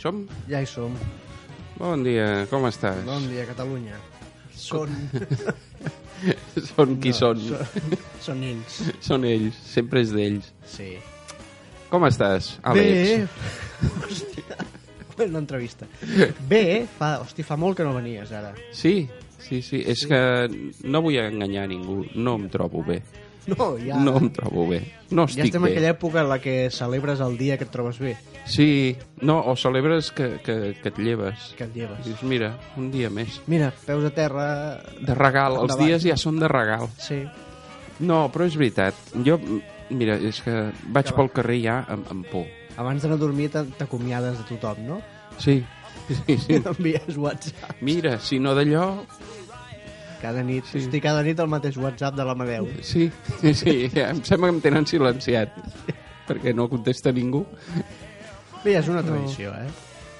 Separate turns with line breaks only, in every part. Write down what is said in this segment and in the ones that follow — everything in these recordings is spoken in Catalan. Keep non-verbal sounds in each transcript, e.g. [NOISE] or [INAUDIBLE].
som?
Ja hi som.
Bon dia, com estàs?
Bon dia, Catalunya. Són...
[LAUGHS] Són qui són.
Són, són ells.
Són ells, sempre és d'ells.
Sí.
Com estàs, Àlex?
Bé... Hòstia, [LAUGHS]
[LAUGHS]
una entrevista. Bé, fa, hosti, fa molt que no venies, ara.
Sí, sí, sí. És que no vull enganyar ningú. No em trobo bé.
No, ja...
No em trobo bé. No
ja
estic
estem
bé.
en aquella època en la que celebres el dia que et trobes bé,
Sí, no, o celebres que, que, que et lleves.
que et lleves.
Dius, mira, un dia més.
Mira, peus a terra...
De regal, els
Endavant.
dies ja són de regal.
Sí.
No, però és veritat. Jo, mira, és que vaig pel carrer ja amb, amb por.
Abans d'anar a dormir t'a- t'acomiades de tothom, no?
Sí, sí,
I [LAUGHS]
sí.
t'envies WhatsApp.
Mira, si no d'allò...
Cada nit.
Sí.
Sí. Hosti, cada nit el mateix WhatsApp de l'Amadeu.
Sí, sí, sí, em sembla que em tenen silenciat perquè no contesta ningú.
Bé, és una tradició, eh?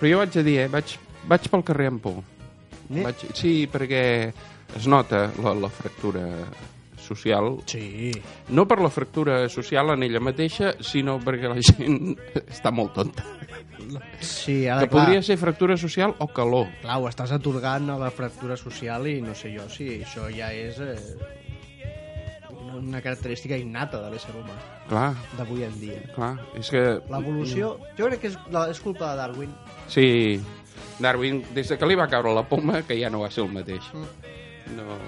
Però jo vaig a dir, eh, vaig, vaig pel carrer amb por.
Eh?
Vaig, sí, perquè es nota la, la fractura social
Sí.
no per la fractura social en ella mateixa, sinó perquè la gent [LAUGHS] està molt tonta.
Sí, ara,
Que
clar,
podria ser fractura social o calor.
clar, ho estàs atorgant a la fractura social i no sé jo si això ja és eh, una, una característica innata de l'ésser humà
Clar,
d'avui en dia.
clar, és que...
L'evolució, jo crec que és, la, és culpa de Darwin.
Sí, Darwin, des de que li va caure la poma, que ja no va ser el mateix.
Mm.
No,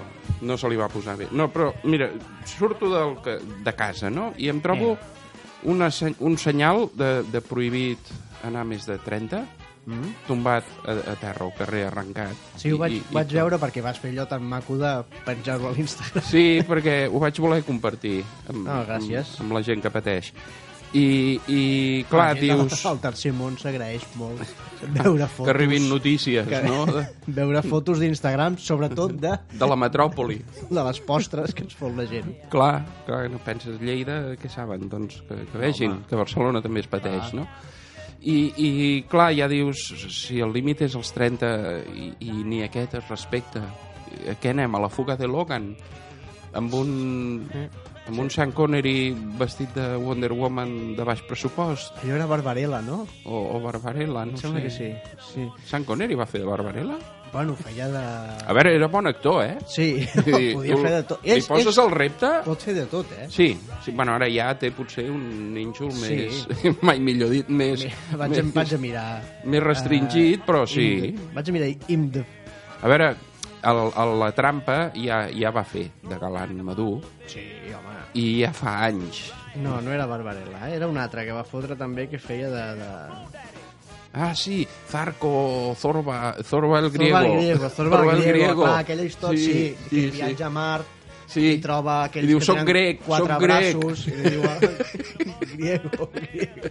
no se li va posar bé. No, però, mira, surto del, que- de casa, no?, i em
Eh.
trobo una, se- un senyal de, de prohibit anar més de 30,
Mm?
tombat a, a terra, al carrer, arrencat.
Sí, ho vaig, I, vaig
tot.
veure perquè vas fer allò tan maco de penjar-ho a l'Instagram.
Sí, perquè ho vaig voler compartir amb,
Ah, gràcies.
amb, amb la gent que pateix. I, i clar,
La gent
dius
[LAUGHS] El tercer món s'agraeix molt veure fotos.
que arribin notícies,
que-
no?, de,
Veure fotos d'Instagram, sobretot de,
de la metròpoli.
de les postres que ens fot la gent.
Clar, clar, no penses Lleida, què saben? Doncs que, que vegin que Barcelona també es pateix, no? I, I clar, ja dius, si el límit és els 30 i, i ni aquest es respecta, a què anem? A la fuga de Logan? Amb un, amb un Sean Connery vestit de Wonder Woman de baix pressupost?
Allò era Barbarella, no?
O, o Barbarella, no
Em sembla
sé.
que sí. sí.
Sean Connery va fer de Barbarella?
Bueno, feia de...
A veure, era bon actor, eh?
Sí, [LAUGHS]
Vull dir,
podia
tu
fer de tot.
Li poses el repte?
Pot fer de tot, eh?
Sí, sí, bueno, ara ja té potser un nínxol
Sí.
més, [LAUGHS] mai millor dit, més,
Vaig, Ah, a, vaig a mirar...
més restringit, però sí.
Imd- Vaig a mirar IMDB.
A veure, el, el, la trampa ja, ja va fer de galant madur
Sí, home.
i ja fa anys.
No, no era Barbarella, eh? era un altre que va fotre també que feia de... de...
Ah, sí, Zarco, Zorba, Zorba el griego.
Zorba el griego, Zorba el griego, clar, aquella història, sí, sí, que
sí,
viatja a Mart,
sí.
i troba aquells
I diu,
que
"Soc
tenen
grec,
quatre
soc grec."
braços i li diu
[LAUGHS]
"Ah, griego, griego.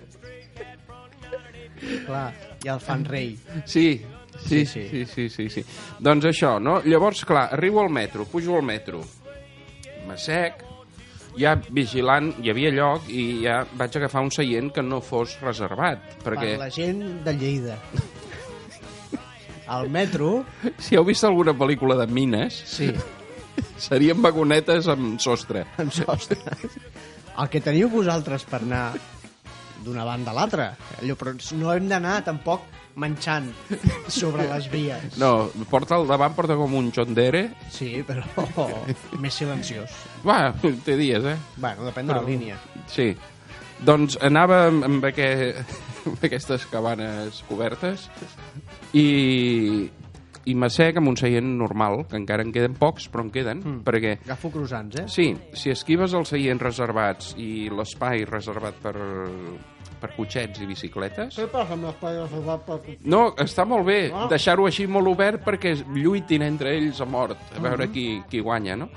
Clar, i el fan rei.
Sí, sí, sí,
Sí, sí.
sí, sí, sí, sí. Doncs això, no? Llavors, clar, arribo al metro, pujo al metro, m'assec, ja vigilant, hi havia lloc i ja vaig agafar un seient que no fos reservat, perquè
Per la gent de Lleida. Al metro,
[LAUGHS] si heu vist alguna pel·lícula de mines, [LAUGHS]
sí,
serien vagonetes amb sostre.
amb sostre. El que teniu vosaltres per anar d'una banda a l'altra. Allò, però no hem d'anar tampoc menjant sobre les vies.
No, porta al davant, porta com un xondere.
Sí, però més silenciós.
Va, [LAUGHS] té dies, eh?
Bueno, depèn de la línia.
Sí. Doncs anava amb, amb, aqu... [LAUGHS] amb aquestes cabanes cobertes i, i m'assec amb un seient normal, que encara en queden pocs, però en queden, mm. perquè...
Agafo croissants, eh?
Sí, si esquives els seients reservats i l'espai reservat per, per cotxets i bicicletes...
Què passa amb l'espai reservat per...
No, està molt bé
Ah.
deixar-ho així molt obert perquè es lluitin entre ells a mort, a veure qui, qui guanya, no?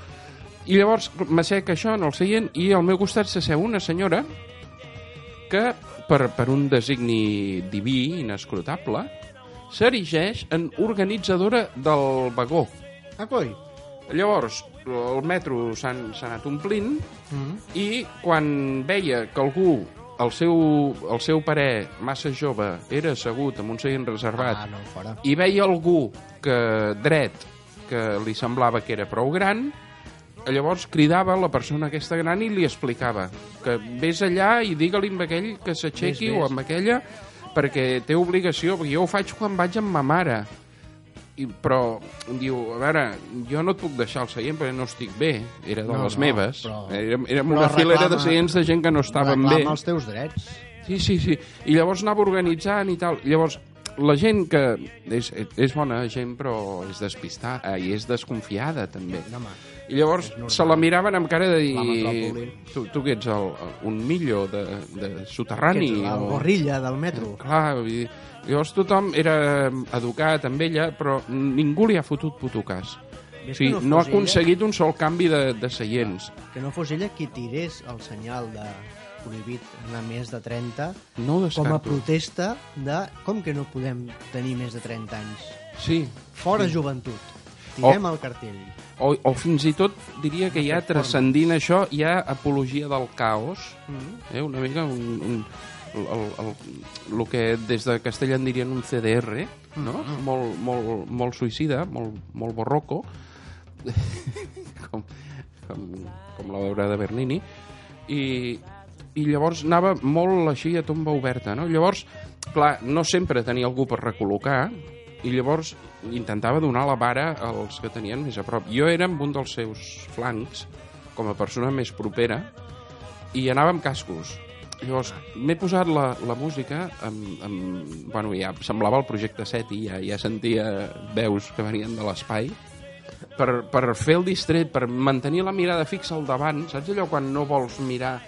I llavors m'assec això en el seient i al meu costat s'asseu una senyora que, per, per un designi diví, inescrutable, s'erigeix en organitzadora del vagó.
Ah, coi?
Llavors, el metro s'ha s'ha anat omplint
Mm.
i quan veia que algú el seu, el seu parer massa jove era assegut amb un seient reservat
Ah, no, fora.
i veia algú que dret que li semblava que era prou gran llavors cridava la persona aquesta gran i li explicava que vés allà i digue-li amb aquell que s'aixequi
Vés,
o
vés.
amb aquella perquè té obligació, perquè jo ho faig quan vaig amb ma mare. I, però diu, a veure, jo no et puc deixar el seient perquè no estic bé, era de
No,
les
no,
meves.
però-
Érem, érem
però
una filera de
reclama-
seients de gent que no estaven
Reclama
bé.
els teus drets.
Sí, sí, sí. I llavors anava organitzant i tal. Llavors, la gent que... És, és bona gent, però és despistada eh, i és desconfiada, també.
No, home.
I llavors
normal.
se la miraven amb cara de
La
dir...
metròpoli.
Tu, tu que ets el, el- un millo de, de soterrani.
Ets la
o-
gorrilla del metro.
Clar, vull dir, llavors tothom era educat amb ella, però ningú li ha fotut puto cas.
I
O
és
sigui,
que no
no ha
fos ella.
aconseguit un sol canvi de, de seients.
Que no fos ella qui tirés el senyal de prohibit anar més de 30
No ho
com a
descarto.
protesta de com que no podem tenir més de 30 anys.
Sí.
Fora joventut. Tirem el cartell.
O, o fins i tot diria que ja transcendint això hi ha apologia del caos,
Mm.
eh? una mica un, un, el, el, el, el que des de Castella en dirien un CDR, no? molt, molt, molt suïcida, molt, molt borroco, com, com, com l'obra de Bernini, i, i llavors anava molt així a tomba oberta. No? Llavors, clar, no sempre tenia algú per recol·locar, i llavors intentava donar la vara als que tenien més a prop. Jo era amb un dels seus flancs, com a persona més propera, i anava amb cascos. Llavors, m'he posat la, la música amb, amb, bueno, ja semblava el projecte 7 i ja, ja sentia veus que venien de l'espai per, per fer el distret, per mantenir la mirada fixa al davant, saps allò quan no vols mirar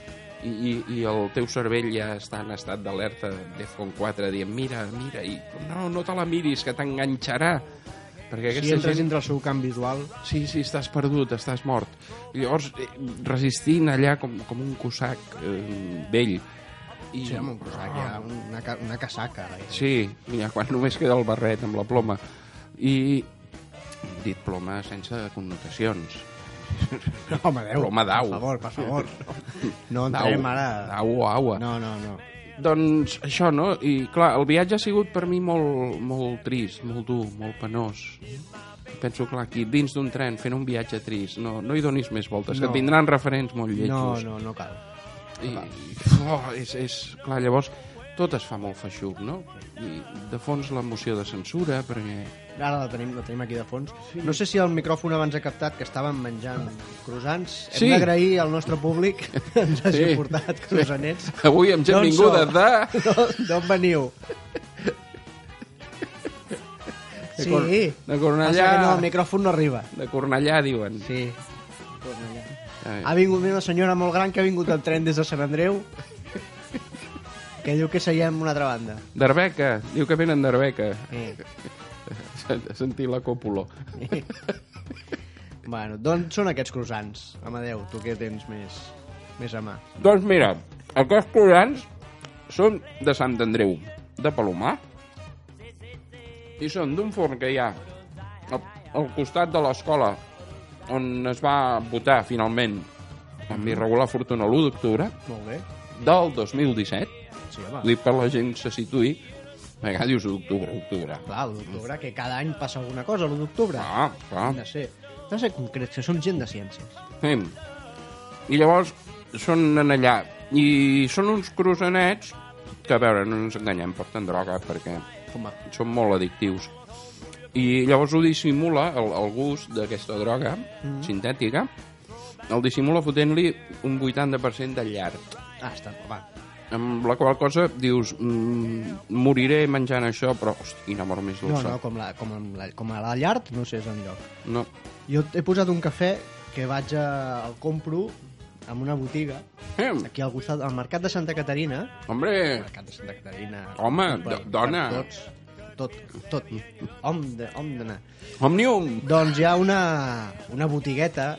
i, i, i el teu cervell ja està en estat d'alerta d'EFCON 4 dient mira, mira, i no, no te la miris que t'enganxarà perquè
Si
aquesta
entres
gent
entre el seu camp visual...
Sí, sí, estàs perdut, estàs mort. I llavors, eh, resistint allà com, com un cossac eh, vell. I...
Sí, amb un cosac, hi ha una, ca- una casaca. Eh?
Sí, [LAUGHS] ja quan només queda el barret amb la ploma. I dit ploma sense connotacions.
No, home, Déu,
Ploma d'au.
Per favor, per
[LAUGHS]
favor. No
Dau,
entrem ara...
dau o aua.
No, no, no.
Doncs això, no? I clar, el viatge ha sigut per mi molt, molt trist, molt dur, molt penós.
Mm-hmm.
Penso, clar, aquí dins d'un tren fent un viatge trist, no, no hi donis més voltes, no. que
No.
et vindran referents molt lletjos.
No, no, no cal.
I, oh, és, és, clar, llavors tot es fa molt feixuc, no? I de fons la moció de censura, perquè... [LAUGHS]
Ara la tenim, la tenim aquí de fons. No sé si el micròfon abans ha captat que estàvem menjant croissants. Hem
Sí.
d'agrair al nostre públic
[LAUGHS]
que ens hagi
Sí.
portat croissanets.
Avui amb gent
D'on
vinguda
sou?
de...
D'on- D'on veniu? Sí.
Cor- de Cornellà.
Passa que no, el micròfon no arriba.
De Cornellà, diuen.
Sí.
Eh,
Ha vingut una senyora molt gran que ha vingut al tren des de Sant Andreu que diu que seiem en una altra banda.
D'Arbeca, diu que venen d'Arbeca. [LAUGHS]
Eh.
Sentir la còpula.
bueno, d'on són aquests croissants? Amadeu, tu què tens més, més a mà?
Doncs mira, aquests plorants són de Sant Andreu, de Palomar, i són d'un forn que hi ha al al costat de l'escola on es va votar finalment amb irregular fortuna l'1 d'octubre
Molt bé.
del 2017,
Sí, home.
dic per la gent se situï, a vegades dius octubre, octubre.
Clar, l'1 d'octubre, que cada any passa alguna cosa, l'1 d'octubre.
Ah,
Ah.
clar.
De ser, hem de ser concrets, que som gent de ciències.
Sí. I llavors són en allà. I són uns croissanets que, a veure, no ens enganyem, porten droga perquè
Home,
són molt addictius. I llavors ho dissimula, el, el gust d'aquesta droga mm. sintètica, el dissimula fotent-li un 80% de llarg.
ah, està, home.
Amb la qual cosa dius, mm, moriré menjant això, però, hosti, quina mort més
No,
dolça.
no, com, la, com, amb la, com a la llard, no sé, és enlloc.
no.
Jo he posat un cafè que vaig a... el compro en una botiga,
Eh,
aquí al costat, al Mercat de Santa Caterina,
hombre,
Mercat de Santa Caterina...
Home,
per-
do- dona.
per Tots, tot, tot. Hom de- hom d'anar.
Òmnium!
Doncs hi ha una, una botigueta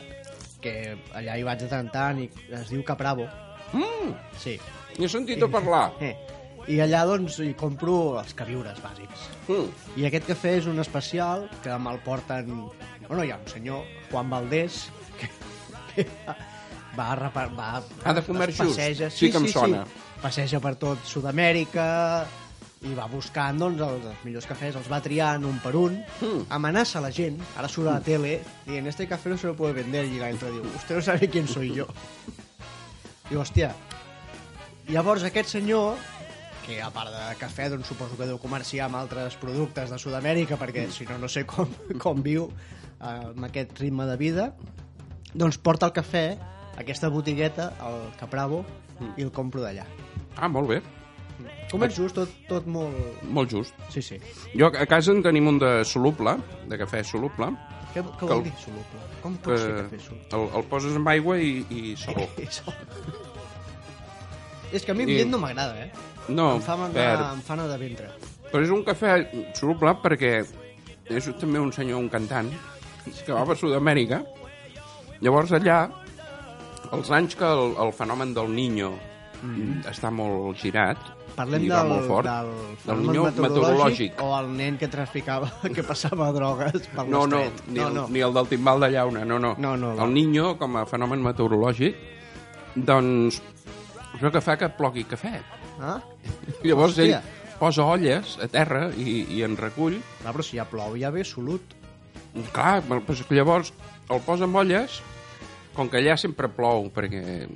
que allà hi vaig de tant en tant i es diu Capravo.
Mm,
Sí.
N'he sentit a parlar.
Eh. I allà, doncs, hi compro els queviures bàsics.
Mm.
I aquest cafè és un especial que me'l porten... Bueno, hi ha un senyor, Juan Valdés, que, que va, va, repar- va,
Ha de comer
es
just.
passeja-
Sí que em sona.
Passeja per tot Sud-amèrica i va buscant doncs, els, els millors cafès, els va triant un per un,
Mm.
amenaça la gent, ara surt
Hmm.
a la tele, dient, este café no se lo puede vender, i l'altre diu, usted no sabe
[LAUGHS]
quién soy yo. Diu, hòstia, llavors aquest senyor que a part de cafè doncs suposo que deu comerciar amb altres productes de Sud-amèrica perquè si no no sé com, com viu eh, amb aquest ritme de vida doncs porta el cafè a aquesta botigueta al Capravo i el compro d'allà
Ah, molt bé.
començos tot, tot molt...
Molt just.
sí, sí
Jo a casa en tenim un de soluble, de cafè soluble,
què, què vol dir soluble? com Eh, pot ser
que
cafè soluble?
el, el poses amb aigua i, i sabó.
És- és que a mi
I-
amb llet no m'agrada eh?
No,
[LAUGHS] em fa anar,
verd.
em fa anar de ventre
Però és un cafè soluble perquè és també un senyor, un cantant, que va per Sud-amèrica. Llavors allà, els anys que el, el fenomen del Niño està molt girat,
Mm. Parlem
i
del,
va molt fort,
del,
del
fenomen
Niño meteorològic.
o el nen que traficava, [LAUGHS] que passava drogues per
No, no,
l'estret.
ni, no, no. ni el del timbal de llauna, no, no.
No, no, va.
el Niño, com a fenomen meteorològic, doncs, és el que fa que plogui cafè.
[LAUGHS] Ah?
Llavors
Hòstia.
ell posa olles a terra i, i en recull.
Va, però si ja plou ja ve solut.
Clar, però és que llavors el posa amb olles, com que allà sempre plou, perquè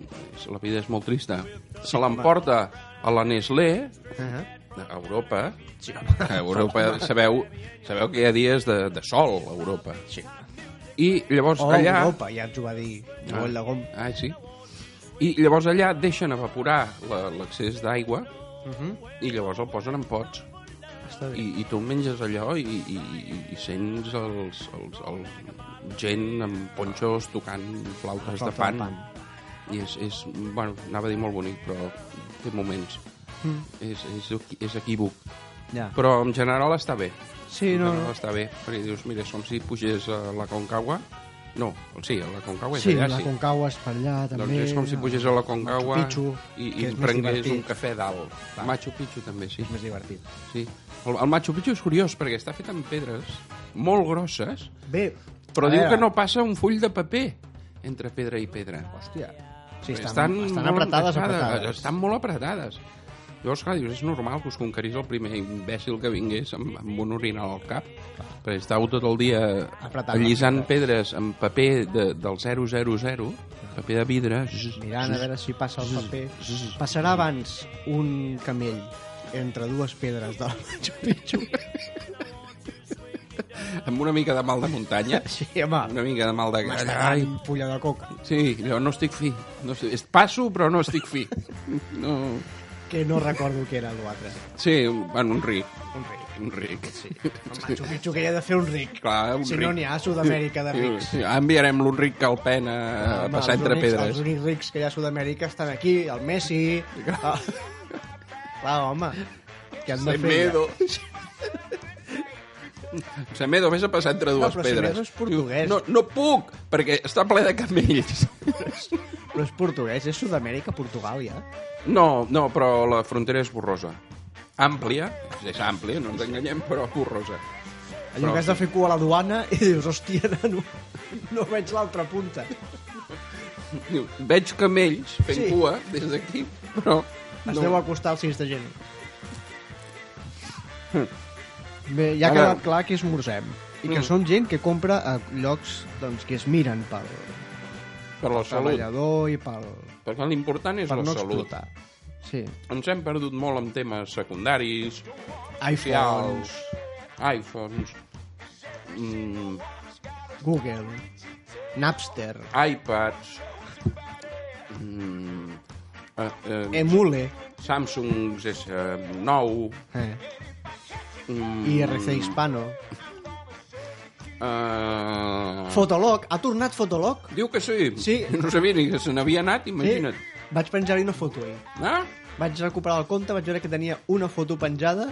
la vida és molt trista, se l'emporta a la Nestlé,
Uh -huh.
a Europa,
Sí, home.
a
[LAUGHS]
Europa sabeu, sabeu que hi ha dies de, de sol a Europa.
Sí.
I llavors
O
allà...
Oh, Europa, ja ens ho va dir Noel de Gom.
Ah, sí. I llavors allà deixen evaporar la- l'excés d'aigua
Uh -huh.
i llavors el posen en pots.
Està bé.
I, i tu menges allò i, i, i, i sents els, els, els gent amb ponxos tocant flautes de
Flauta
pan.
de pan.
I és, és, bueno, anava a dir molt bonic, però té moments. Mm. És, és, equi- és equívoc.
Ja.
Però en general està bé.
Sí,
En
no,
general
no.
està bé, perquè dius, mira, som si pugés a la Concagua. No, sí, a la Concagua és
Sí,
allà,
la
sí.
Concagua és per allà, també.
Doncs és com si pugés a la Concagua
Machu Picchu,
i,
que
i
és més
prengués
divertit.
un cafè dalt. Machu Picchu també, sí.
És més divertit.
sí. El, el Machu Picchu és curiós perquè està fet amb pedres molt grosses,
Bé,
però
a
diu
veure,
que no passa un full de paper entre pedra i pedra.
Hòstia. Sí, estan,
Estan,
estan, estan
molt
apretades,
encaixades,
apretades.
Estan molt apretades. Llavors, clar, dius, és normal que us conquerís el primer imbècil que vingués amb, amb un orinal al cap, perquè estàveu tot el dia
Apretant
allisant pedres amb paper de, del 000, paper de vidre... zzz,
Mirant a
zzz,
veure si passa el paper.
zzz.
Passarà abans un camell entre dues pedres del Machu Picchu.
amb una mica de mal de muntanya, [LAUGHS]
Sí, home,
una mica de mal de
m'està
galla. Ai,
dant fulla de coca.
sí, jo no estic fi. No estic... es- Passo, però no estic fi. No...
Que no recordo què era l'altre.
Sí, bueno, un ric.
Un ric.
Un ric. Sí.
El Machu Picchu que hi ha de fer un ric.
Clar, un
si
ric.
no n'hi ha a Sud-amèrica de rics. Ah,
Sí, ara enviarem l'Enric Calpen a, a
Home,
passar
els
entre
únics- Els
pedres.
únics rics que hi ha a Sud-amèrica estan aquí, el Messi... Ah. Clar, home, que han de fer...
Semedo. [LAUGHS] Semedo, vés a passar entre dues
però
pedres.
Semedo és portuguès.
No, no puc, perquè està ple de camells.
Però és portuguès, és Sud-amèrica, Portugal, ja.
No, no, però la frontera és borrosa. Àmplia, és, és àmplia, no ens enganyem, però borrosa.
Allò
Però
que has de fer cua a la duana i dius, hòstia, nano, no veig l'altra punta.
Diu, Veig camells fent
Sí.
sí. cua des d'aquí, però...
Es
no.
deu acostar al sis de gent. Bé,
Hm.
ja ha
Ara-
quedat clar que és morsem i que
Mm.
són gent que compra a llocs doncs, que es miren pel
Per la salut.
treballador i pel,
Perquè l'important és
per
la
no
salut.
explotar. Sí.
Ens hem perdut molt en temes secundaris,
iPhones,
socials, iPhones, mm,
Google, Napster,
iPads, mm, eh, eh,
Emule
Samsung S9,
eh,
mm, Ah.
i RC Hispano.
eh,
Fotolog, ha tornat Fotolog?
Diu que sí.
Sí.
[LAUGHS] No sabia ni que se n'havia anat, imagina't. Sí.
Sí? Vaig penjar-hi una foto ahir.
Ah?
Vaig recuperar el compte, vaig veure que tenia una foto penjada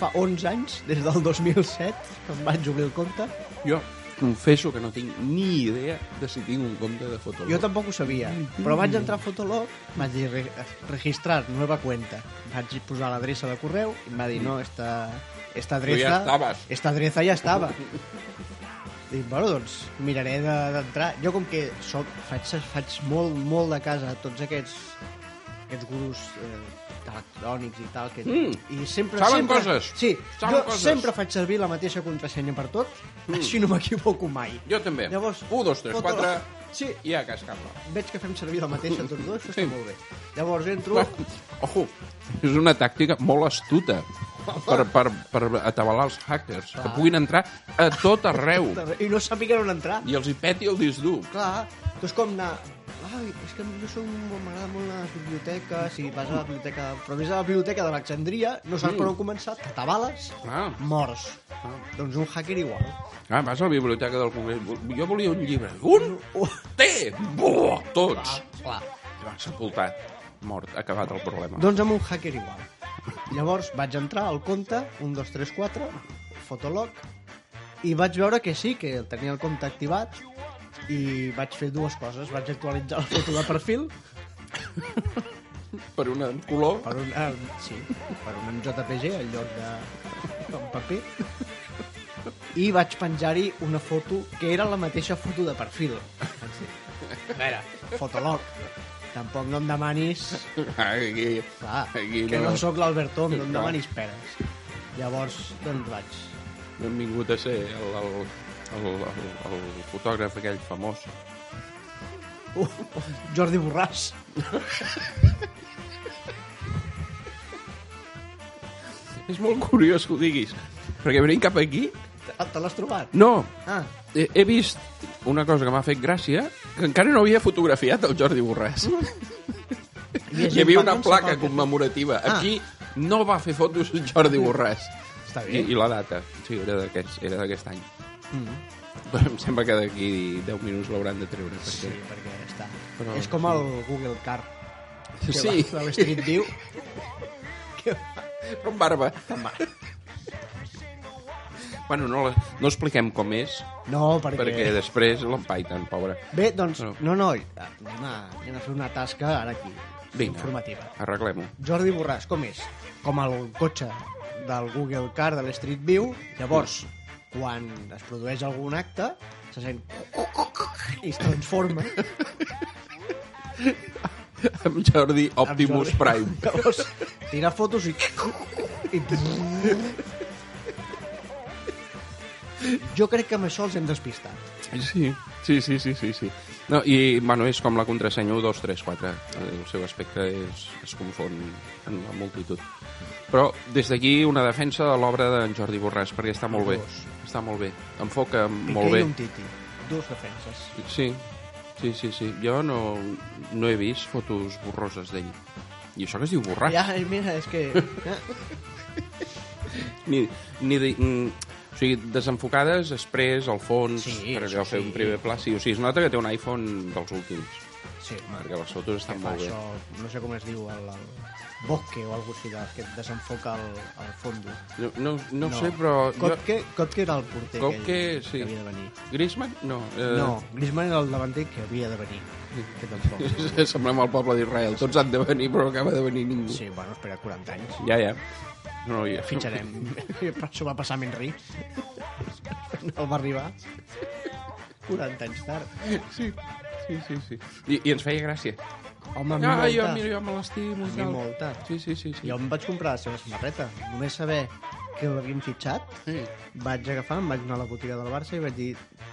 fa 11 anys, des del 2007, que em vaig obrir el compte.
Jo confesso que no tinc ni idea de si tinc un compte de Fotolog.
Jo tampoc ho sabia, però vaig entrar a Fotolog, vaig dir "Re- registrar nueva cuenta. Vaig posar l'adreça de correu i em va dir no, esta, esta
Tu
adreça...
ja estaves.
Esta adreça ja estava. [LAUGHS] Dic, bueno, doncs miraré de- d'entrar. Jo com que soc, faig, faig molt, molt de casa tots aquests, aquests gurus eh, electrònics i tal. Que...
Mm.
I sempre,
Saben
sempre,
coses.
Sí,
Saben
jo
coses. Mm.
sempre faig servir la mateixa contrasenya per tot, així no m'equivoco mai.
Jo també.
Llavors,
1, 2, 3,
foto-
4...
Sí,
I a cascar-la.
veig que fem servir la mateixa tots dos, això està
Sí.
molt bé. Llavors entro...
Però, Ojo, és una tàctica molt astuta per, per, per atabalar els hackers, que puguin entrar a tot arreu
I no sàpiguen on entrar.
i els hi peti el disc dur.
Clar, tu és com anar... Ai, és que jo som... M'agrada molt anar a les biblioteques, i vas a la biblioteca... Però vés a la biblioteca d'Alexandria, no saps per on començar, t'atabales,
Mm. Ah.
mors. Doncs un hacker igual.
Ah, vas a la biblioteca del Congrés. Jo volia un llibre. Un,
Oh.
té! Buah, tots!
Clar.
I van sepultar. Mort, acabat el problema.
Doncs amb un hacker igual. Llavors vaig entrar al compte, 1, 2, 3, 4, fotolog, i vaig veure que sí, que tenia el compte activat, i vaig fer dues coses. Vaig actualitzar la foto de perfil,
Per un color...
per un, eh, sí, per un JPG al lloc de un paper i vaig penjar-hi una foto que era la mateixa foto de perfil a veure, fotolog tampoc no em demanis
Aquí,
clar,
aquí
que no sóc l'Albertó no em
Clar.
demanis peres llavors doncs vaig
no hem vingut a ser el, el, el, el, el fotògraf aquell famós.
uh, Jordi Borràs
És molt curiós que ho diguis, perquè venint cap aquí...
te, te l'has trobat?
No,
ah,
he, he vist una cosa que m'ha fet gràcia, que encara no havia fotografiat el Jordi Borràs.
Mm, hi,
Hi havia una placa commemorativa.
Ah.
Aquí no va fer fotos Jordi Borràs.
Mm. Està
I,
bé.
i la data, sí, era d'aquest era d'aquest any.
Mm,
Però em sembla que d'aquí 10 minuts l'hauran de treure.
sí,
Perquè...
perquè està
Però-
és com el Google Car
Sí,
que va, de l'Street View que va
però amb barba. Bueno, no, la- no expliquem com és,
No, perquè...
perquè després l'empaiten, pobre.
Bé, doncs,
No.
no, no, anem a, anem a fer una tasca ara aquí,
Vinga.
informativa.
Arreglem-ho.
Jordi Borràs, com és? Com el cotxe del Google Car de l'Street View, llavors, quan es produeix algun acte, se sent i es transforma.
[LAUGHS] Amb Jordi Optimus
Amb Jordi.
Prime.
Llavors, tira fotos i... i... Jo crec que amb això els hem despistat.
Sí, sí, sí, sí, sí. sí. No, I, bueno, és com la contrasenya 1, 2, 3, 4. El seu aspecte és, es confon en la multitud. Però des d'aquí una defensa de l'obra d'en Jordi Borràs, perquè està molt bé. Està molt bé. Enfoca molt
Piqué
bé.
i un titi. Dues defenses.
Sí, sí, sí, sí. Jo no, no he vist fotos borroses d'ell. I això que es diu borràs.
Ja, mira, és que... eh,
Ni, ni de, mm, o sigui, desenfocades, després, al fons,
Sí,
per
això
allò, fer
sí.
un primer pla. Sí, o sigui, es nota que té un iPhone dels últims,
Sí, home,
perquè les fotos
que
estan
fa
molt bé.
això, no sé com es diu, el, el bosque o alguna cosa així, que et desenfoca el, el fondo.
No, no, no, ho sé, però...
Kopke, jo... Kopke era el porter
Kopke,
aquell
sí.
que havia de venir.
Jo... Griezmann? No. Eh, [LAUGHS]
No, Griezmann era el davanter que havia de venir. Que tampoc.
[LAUGHS] Semblem el poble d'Israel. Tots han de venir, però no acaba de venir ningú.
Sí, bueno, espera 40 anys.
Ja, ja. No, ja.
Fitxarem. [LAUGHS] Però això va passar amb Henry. [LAUGHS] No va arribar. 40 anys tard.
[LAUGHS] Sí, sí, sí. sí. I, I ens feia gràcia.
Home, a mi
Ah, jo,
molta.
mira, jo me l'estimo. i
mi
tal.
molta.
Sí, sí, sí. sí.
Jo em vaig comprar la seva samarreta. Només saber que l'havien fitxat,
Sí.
vaig agafar, em vaig anar a la botiga del Barça i vaig dir,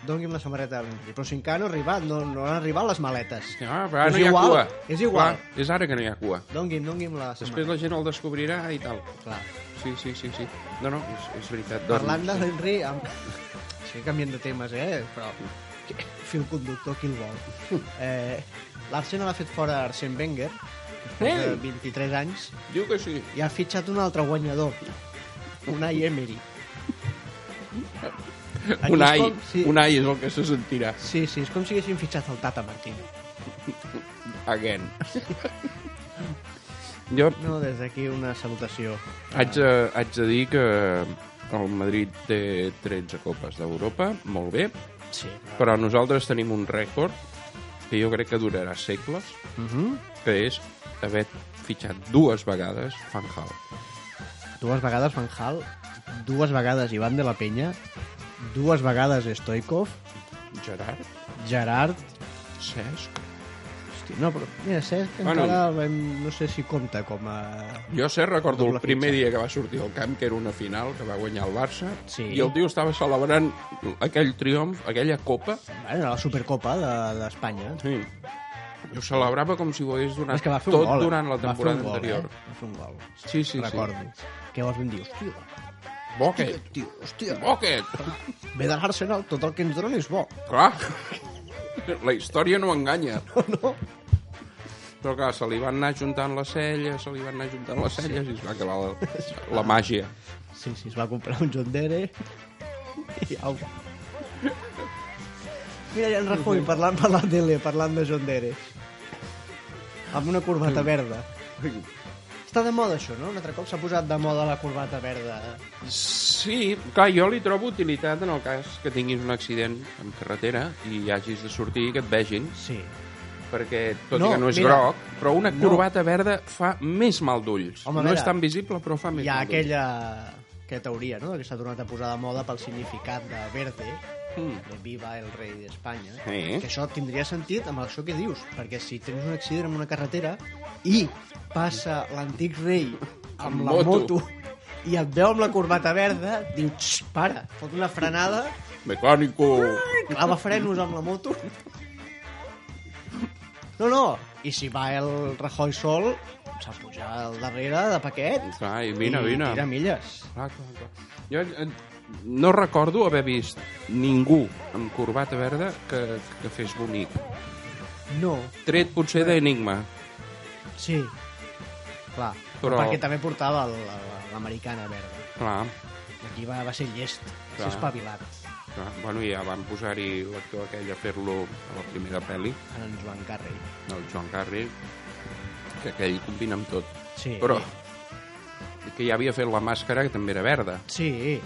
doni'm la samarreta. Però si encara no ha arribat, no, no han arribat les maletes.
Ah, però ara
És
no hi ha
igual,
cua.
és igual.
Clar, és ara que no hi ha cua.
Doni'm, doni'm la
Després
samarreta.
la gent el descobrirà i tal.
Clar.
Sí, sí, sí, sí. No, no, és, és veritat. Doncs,
Parlant de l'Henry, amb... estic canviant de temes, eh? Però que- fil conductor, qui el vol? Eh, L'Arsenal ha fet fora Arsène Wenger, després de
Ei!
23 anys,
Diu que sí.
i ha fitxat un altre guanyador, Unai Emery. Aquí
Un ai,
és com si-
un ai és el que se sentirà.
Sí, sí, és com si haguessin fitxat el Tata Martino. [LAUGHS]
Again. jo
No, des d'aquí una salutació.
haig de, haig de dir que el Madrid té 13 copes d'Europa, molt bé,
Sí.
però nosaltres tenim un rècord que jo crec que durarà segles,
Uh -huh.
que és haver fitxat dues vegades Van Hal.
Dues vegades Van Hal, dues vegades Ivan de la Penya, dues vegades Stoikov,
Gerard,
Gerard,
Cesc,
Hosti, no, però mira, Cesc
Bueno.
encara vam- no sé si compta com a...
Jo sé, recordo
Doble
el primer
fitxa.
dia que va sortir al camp, que era una final que va guanyar el Barça,
Sí.
i el tio estava celebrant aquell triomf, aquella copa,
Bueno, la Supercopa de- d'Espanya. De,
sí. i ho celebrava com si ho hagués donat
és que va fer
tot
un gol. eh?
durant la
va fer un
temporada
gol,
anterior.
Eh? Va fer un gol.
Sí, sí,
Recordo. Què vols ben dir? Hòstia,
sí. Bo aquest,
tio, hòstia.
bo aquest.
Ve de l'Arsenal, tot el que ens dona és bo.
Clar, la història no enganya.
No, no.
Però clar, se li van anar juntant les celles, se li van anar juntant les celles i es va acabar
[LAUGHS]
la, la màgia.
Sí, sí, es va comprar un John Dere i au. Mira, ja en Rajoy parlant per la tele, parlant de John Dere. Amb una corbata verda. Està de moda això, no? Un altre cop s'ha posat de moda la corbata verda.
Sí, clar, jo li trobo utilitat en el cas que tinguis un accident en carretera i hagis de sortir i que et vegin,
Sí.
perquè tot
No,
i que no és
mira,
groc, però una
no.
corbata verda fa més mal d'ulls.
Home,
No
a veure,
és tan visible, però fa més
Hi ha
mal d'ulls.
aquella, aquella teoria, no?, que s'ha tornat a posar de moda pel significat de verde,
Mm.
de viva el rei d'Espanya,
Sí.
que això tindria sentit amb això que dius, perquè si tens un accident en una carretera i passa l'antic rei amb la
moto.
moto. i et veu amb la corbata verda, diu, "Xx, para, fot una frenada,
Mecànico!
clava frenos amb la moto. No, no, i si va el Rajoy sol, s'ha pujat al darrere de paquet
Clar, i vine,
i
vine.
tira milles.
Clar, clar, clar. Jo eh, no recordo haver vist ningú amb corbata verda que, que fes bonic.
No,
Tret potser d'Enigma.
sí. Clar,
Però-
però... perquè també portava el- el- l'americana verda.
Clar,
Aquí va, va ser llest, va
Clar.
ser espavilat.
clar. Bueno, ja van posar-hi l'actor aquell a fer-lo a la primera pel·li.
Ara ens ho encarri.
el Joan Carrey, que aquell combina amb tot.
Sí.
Però que ja havia fet la màscara, que també era verda.
Sí.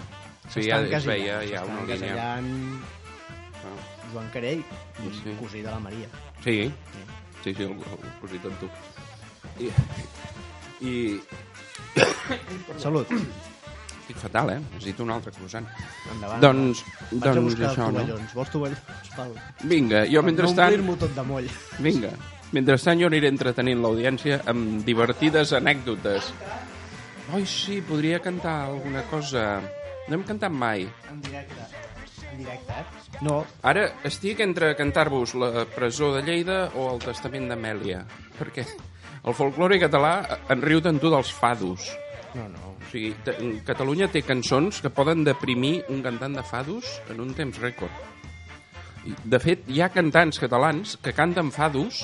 Sí, ja
S'estan
es veia,
casellant,
ja
s'estan
una línia.
casellant
Ah,
Joan Carell i
Sí.
cosí de la Maria.
Sí, sí, sí, el, el cosit amb tu. I, I
Salut.
estic fatal, eh? Necessito un altre croissant.
Endavant.
Doncs,
Ah, Vaig a
doncs
buscar
això, no?
tovallons. Vols tovallons? Pal.
Vinga, jo
No
mentrestant...
omplir-m'ho tot de moll.
Vinga, mentrestant jo aniré entretenint l'audiència amb divertides anècdotes. Oi, sí, podria cantar alguna cosa. No hem cantat mai.
En directe. En directe, eh? No,
Ara estic entre cantar-vos la presó de Lleida o el testament d'Amèlia, perquè el folklore català en riu tant tu dels fados.
no, no.
O sigui, te- Catalunya té cançons que poden deprimir un cantant de fados en un temps rècord. I, De fet, hi ha cantants catalans que canten fados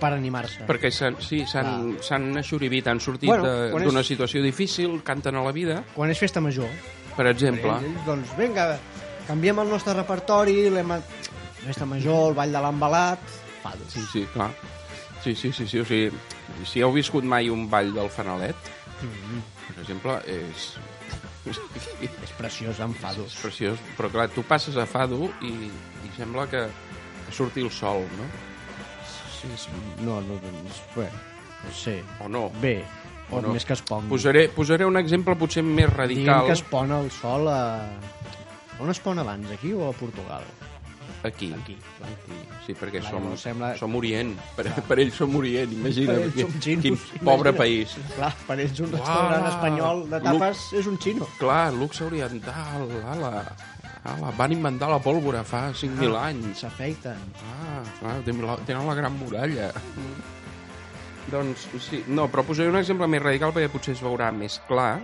Per animar-se.
perquè s'han sí, s'han- s'han eixoribit, han sortit
Ah. Bueno,
de-
quan és-
d'una situació difícil, canten a la vida,
Quan és festa major,
per exemple.
ells, doncs, vinga, canviem el nostre repertori, l'hem... Festa major, el ball de l'embalat... Fados.
Sí, sí, clar. Sí, sí, sí, sí, o sigui, si heu viscut mai un ball del fanalet,
Mm-hmm.
per exemple, és,
És preciós, en fados.
és preciós, però clar, tu passes a fado i, i sembla que, que surti el sol, no?
Sí, és... No, no, doncs, bé, no sé.
O no?
Bé, o,
O no.
no. més que es pongui.
Posaré, posaré un exemple potser més
Diguem
radical
que es pon el sol a... On es pon abans, aquí o a Portugal?
aquí.
Aquí.
Sí, perquè
Clar,
som,
llavors sembla-
som Orient. Per, per ells som Orient, imagina.
Per ells som
quin,
xinos,
quin
imagina.
pobre país.
Clar, per ells un
Uah!
restaurant espanyol de tapes és un xino.
Clar, luxe oriental, ala, ala, van inventar la pólvora fa 5.000
Ah.
anys.
S'afeiten.
Ah, clar, tenen la, tenen la gran muralla. Doncs sí, no, però posaré un exemple més radical perquè potser es veurà més clar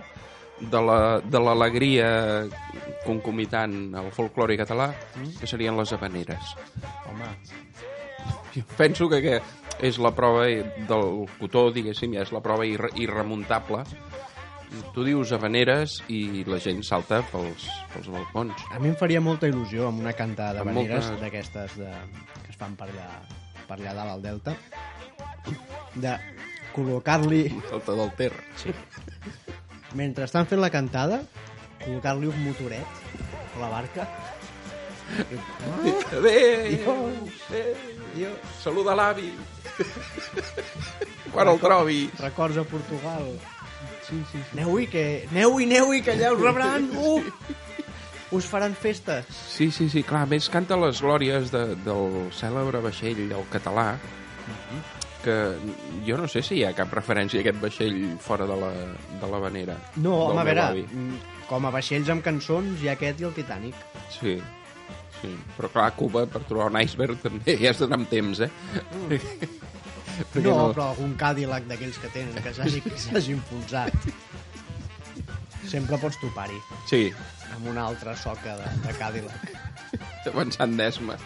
de la- de l'alegria la, concomitant al folklore català, que serien les habaneres.
Home,
Jo penso que, que és la prova del cotó, diguéssim, ja és la prova irre, irremuntable. Tu dius habaneres i la gent salta pels, pels balcons.
a mi em faria molta il·lusió amb una cantada
Amb
d'habaneres
molta-
d'aquestes de... que es fan per allà, per allà dalt al Delta, de col·locar-li,
Salta del terra.
mentre estan fent la cantada, col·locar-li un motoret a la barca.
Adéu!
Jo,
Saluda l'avi. Quan el trobi.
records a Portugal. Sí, sí, sí. Aneu-hi, que... Aneu-hi, aneu-hi, que allà us
[LAUGHS]
rebran! Uh! Us faran festes.
Sí, sí, sí, clar, a més canta les glòries de, del cèlebre vaixell, el català, que jo no sé si hi ha cap referència a aquest vaixell fora de la, de la vanera.
No,
del
home, a
meu
veure,
avi.
mm, com a vaixells amb cançons hi ha aquest i el Titanic.
Sí, sí. Però clar, a Cuba, per trobar un iceberg també [LAUGHS] hi has d'anar amb temps, eh? Perquè
No, però algun Cadillac d'aquells que tenen, que s'hagi que s'hagi impulsat. Sempre pots topar-hi
Sí,
amb una altra soca de, de Cadillac.
avançant d'esma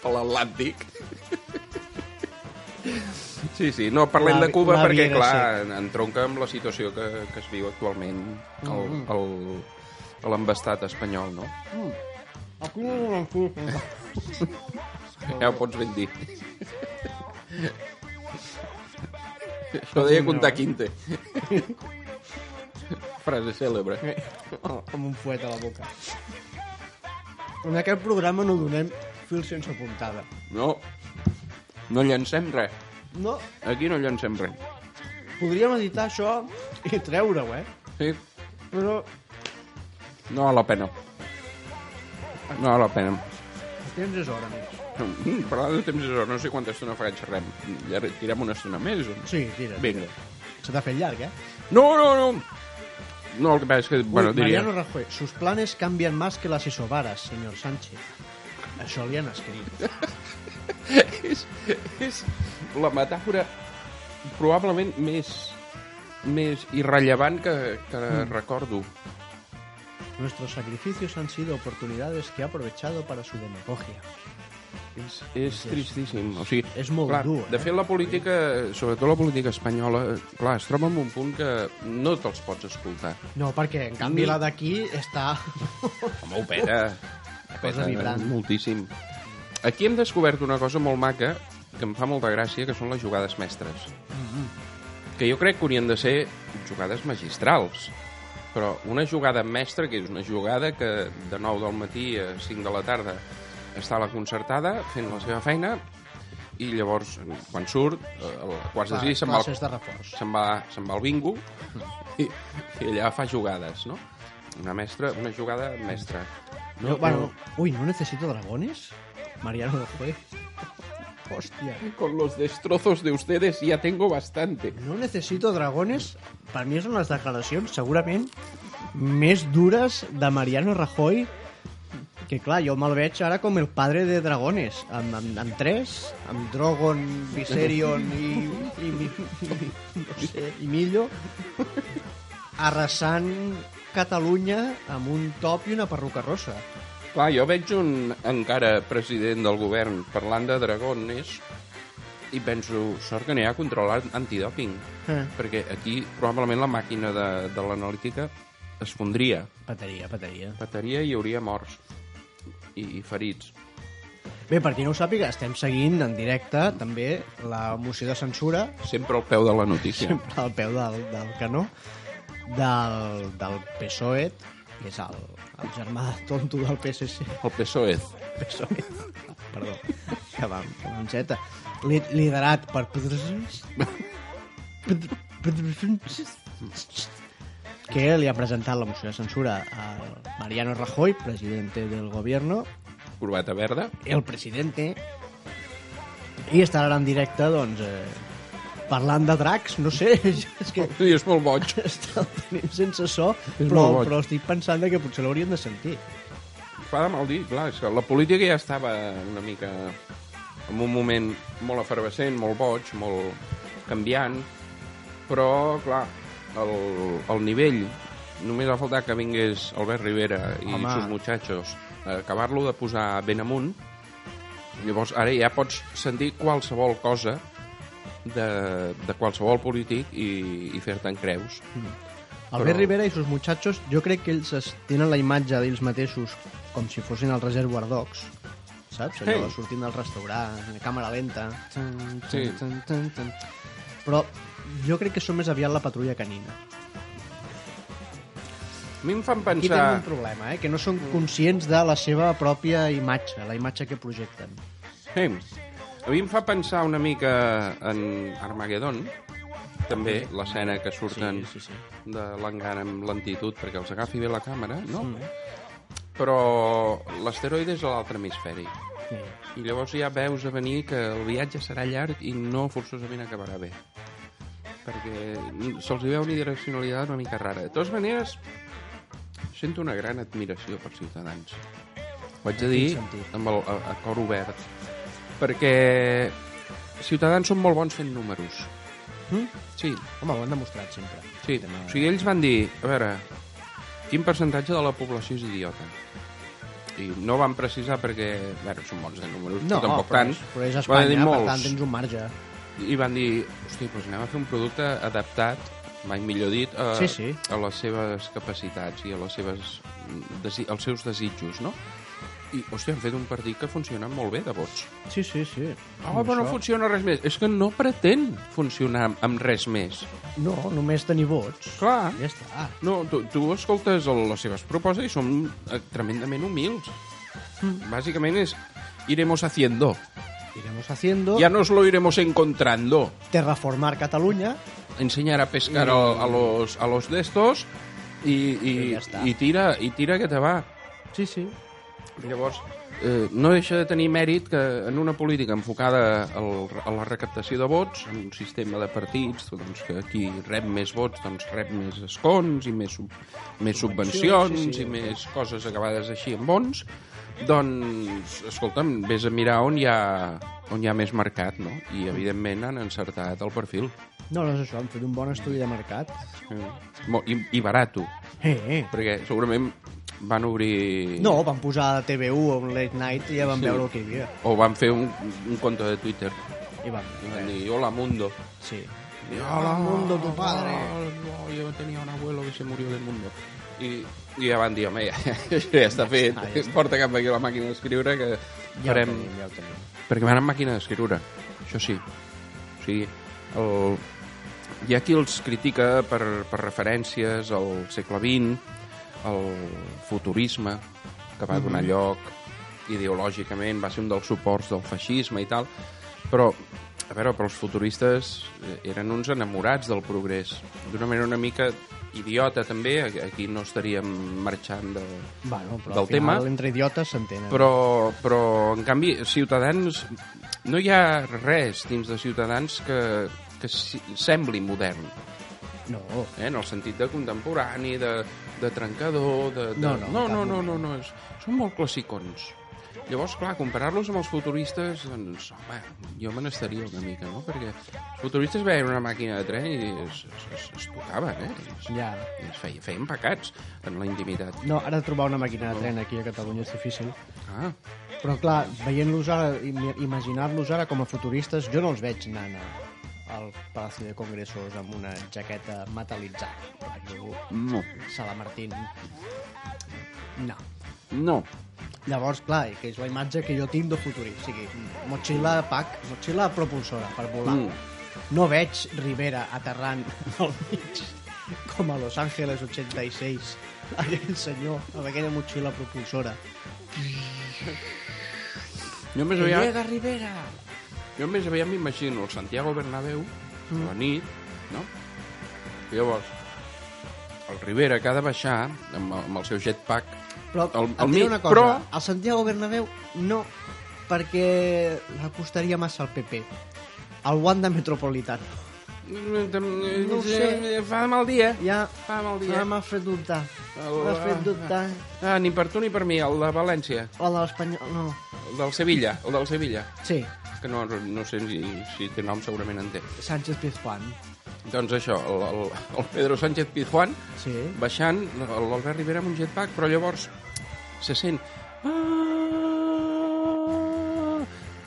per l'Atlàntic. Sí, sí, no, parlem
La-
de Cuba
la
perquè,
Viera
clar, en- entronca amb la situació que, que es viu actualment al, al, a l'embastat espanyol, no?
Aquí no
Ja ho pots ben dir. Això eh? ho deia comptar quinte. Frase cèlebre.
amb un fuet a la boca. En aquest programa no donem fil sense puntada.
No, no llancem res.
No,
Aquí no llancem res.
podríem editar això i treure-ho, eh?
Sí,
Però
no val la pena. No val la pena.
el temps és hora més.
Mm, Parlant de temps és hora, no sé quanta estona fa que xerrem. Ja tirem una estona més. o no?
Sí, tira.
Vinga.
Se t'ha fet llarg, eh?
No, no, no. No, el que passa és que, bueno,
Uy,
diria...
Mariano Rajoy, sus planes cambian más que las isobaras, señor Sánchez. Això li han escrit.
[LAUGHS] és, és la metàfora probablement més més irrellevant que, que mm. recordo.
Nuestros sacrificios han sido oportunidades que ha aprovechado para su demagogia.
És, és tristíssim. O sigui,
És molt
clar,
dur, eh?
De fet, la política, sobretot la política espanyola, clar, es troba en un punt que no te'ls pots escoltar.
No, perquè, en canvi, la d'aquí està...
Home, ho peta. Ho
cosa vibrant.
eh? Moltíssim. Aquí hem descobert una cosa molt maca que em fa molta gràcia, que són les jugades mestres.
Mm-hmm.
Que jo crec que haurien de ser jugades magistrals. Però una jugada mestra, que és una jugada que de 9 del matí a 5 de la tarda està a la concertada fent la seva feina i llavors, quan surt, a les quarts de
Fa
sis se'n va al
classes de Mm. reforç.
se'n va, se'n va al bingo i, i allà fa jugades, no? Una mestra, una jugada mestra.
No, bueno, ui, no necesito dragones? Mariano Rajoy. Hòstia.
Con los destrozos de ustedes ya tengo bastante.
No necesito dragones, per mi són les declaracions segurament més dures de Mariano Rajoy que clar, jo me'l veig ara com el padre de dragones, amb, amb, amb tres, amb Drogon, Viserion i, i, i, no sé, i Millo, arrasant Catalunya amb un top i una perruca rossa.
Clar, jo veig un encara president del govern parlant de dragones i penso, sort que n'hi ha control an- antidòping,
Eh.
perquè aquí probablement la màquina de, de l'analítica es fondria,
Pateria, pateria.
petaria i hi hauria morts i, i ferits.
Bé, per qui no ho sàpiga, estem seguint en directe també la moció de censura
Sempre al peu de la notícia.
sempre al peu del, del canó del, del PSOE E que és el, el germà tonto del PSC
El PSOE.
PSOE, E perdó que va, que va amb Z li, liderat per que li ha presentat la moció de censura a Mariano Rajoy, presidente del gobierno
Corbata verda.
el presidente i estarà en directe doncs eh, parlant de dracs, no sé, [LAUGHS] és que
Sí, és molt boig.
[LAUGHS] està el tenim sense so,
És
però,
molt boig.
però estic pensant de que potser l'hauríem de sentir.
Fa de mal dir, clar, és que la política ja estava una mica en un moment molt efervescent, molt boig, molt canviant, però, clar, el, el nivell, només va faltar que vingués Albert Rivera i
Home.
sus muchachos a acabar-lo de posar ben amunt, llavors ara ja pots sentir qualsevol cosa de, de qualsevol polític i, i fer-te'n creus.
Albert
Però-
Rivera i sus muchachos, jo crec que ells es tenen la imatge d'ells mateixos com si fossin el Reservoir Dogs, saps? Allò
Sí.
de sortint del restaurant, a càmera lenta... tan,
Sí.
tan, tan, tan, tan. Però jo crec que són més aviat la patrulla canina.
A mi em fan
Aquí
pensar...
tenen un problema, eh? que no són conscients de la seva pròpia imatge, la imatge que projecten.
Sí. A mi em fa pensar una mica en Armageddon, també l'escena que surten
Sí, sí, sí.
de l'engan amb lentitud perquè els agafi bé la càmera, no? Però l'asteroide és a l'altre hemisferi.
Sí.
I llavors ja veus a venir que el viatge serà llarg i no forçosament acabarà bé. Perquè se'ls hi veu una direccionalitat una mica rara. De totes maneres, sento una gran admiració per Ciutadans. Ho haig de dir
quin sentit?
amb el a, a cor obert. Perquè Ciutadans són molt bons fent números.
Mm?
Sí,
Home, ho han demostrat sempre.
Sí,
Tema-
o sigui, ells van dir, a veure, quin percentatge de la població és idiota? I no van precisar perquè, a veure, són bons de números,
No,
però tampoc
però,
tant.
és, però és
Van dir
Espanya, per
molts.
tant tens un marge.
I van dir, hosti, doncs anem a fer un producte adaptat, mai millor dit, a,
Sí, sí.
a les seves capacitats i a les seves, desi, als seus desitjos, no? I, hòstia, han fet un partit que funciona molt bé de vots.
Sí, sí, sí.
Oh, però no funciona res més. És que no pretén funcionar amb res més.
No, només tenir vots.
Clar.
Ja està.
No, tu, tu escoltes el, les seves propostes i són eh, tremendament humils. Mm. Bàsicament és iremos haciendo.
Iremos haciendo...
Ya nos lo iremos encontrando.
Terraformar Catalunya.
Ensenyar a pescar a, a, los, a los de estos i, i,
I ja està.
i, tira, i tira que te va.
Sí, sí.
Llavors, eh, no deixa de tenir mèrit que en una política enfocada al, a la recaptació de vots, en un sistema de partits, doncs, que qui rep més vots doncs, rep més escons i més, sub, més subvencions
sí,
i
sí.
més coses acabades així amb bons, doncs, escolta'm, vés a mirar on hi ha, on hi ha més mercat, no? I, evidentment, han encertat el perfil.
No, no és això, han fet un bon estudi de mercat.
Eh, mo- I, i barato,
Eh, eh.
perquè segurament van obrir...
No, van posar a TV1 o un late night i ja van
Sí.
sí. veure el que hi havia.
O van fer un, un compte de Twitter.
I van
I
veure.
van dir, hola mundo.
Sí.
Y,
Hola, mundo, tu padre.
hola, yo tenía un abuelo que se murió del mundo. I, i ja van dir, [LAUGHS] home, ja, ja, ja
[LAUGHS]
està [LAUGHS] fet,
està, ja està.
porta cap aquí la màquina d'escriure que
Ja
farem...
ho tenim, ja ho tenim.
Perquè van amb màquina d'escriure, això sí. O sigui, el... hi ha qui els critica per, per referències al segle XX, al futurisme, que va donar lloc ideològicament, va ser un dels suports del feixisme i tal, però a veure, però els futuristes eh, eren uns enamorats del progrés, d'una manera una mica idiota també, aquí no estaríem marxant de,
Bueno, però
Del
al final,
tema.
entre idiotes s'entenen.
però, però en canvi Ciutadans no hi ha res dins de Ciutadans que, que si- sembli modern
No,
eh? en el sentit de contemporani de, de trencador de, de...
No, no,
no,
en
no,
cap
no, no, no és, són molt classicons Llavors, clar, comparar-los amb els futuristes, doncs, home, jo me n'estaria una mica, no? Perquè els futuristes veien una màquina de tren i es, es, es, es tocaven, eh? Es,
ja.
es feien, feien pecats en la intimitat.
No, ara trobar una màquina de tren aquí a Catalunya és difícil.
Ah,
Però clar, veient-los ara, im- imaginar-los ara com a futuristes, jo no els veig anant a- al Palacio de Congressos amb una jaqueta metalitzada. rotllo
no,
Salamartín. No.
no.
Llavors, clar, que és la imatge que jo tinc de futurista. O sigui, motxilla, pac, motxilla propulsora per volar.
Mm.
No veig Rivera aterrant [LAUGHS] al mig com a Los Angeles 86 aquell senyor amb aquella motxilla propulsora
Jo més aviat... Llega Rivera! Jo més aviat m'imagino el Santiago Bernabéu,
Mm.
a la nit, no? I llavors, el Rivera que ha de baixar amb, amb el seu jetpack...
Però
al-
el,
al
et diré
mig,
una cosa,
però-
però... el Santiago Bernabéu no, perquè l'acostaria massa al PP. Al Wanda Metropolitano.
No
ho sé.
eh, Fa mal dia.
Ja
Fa mal dia.
ja m'ha fet dubtar.
El-
M'ha fet dubtar.
Ah, ni per tu ni per mi, el de València,
O de l'Espanyol... No.
el del Sevilla, el del Sevilla,
Sí,
que no, no sé si, si té nom, segurament en té.
Sánchez Pizjuán.
Doncs això, el, el, el Pedro Sánchez Pizjuán,
Sí.
baixant l'Albert Rivera amb un jetpack, però llavors se sent... "Ah!"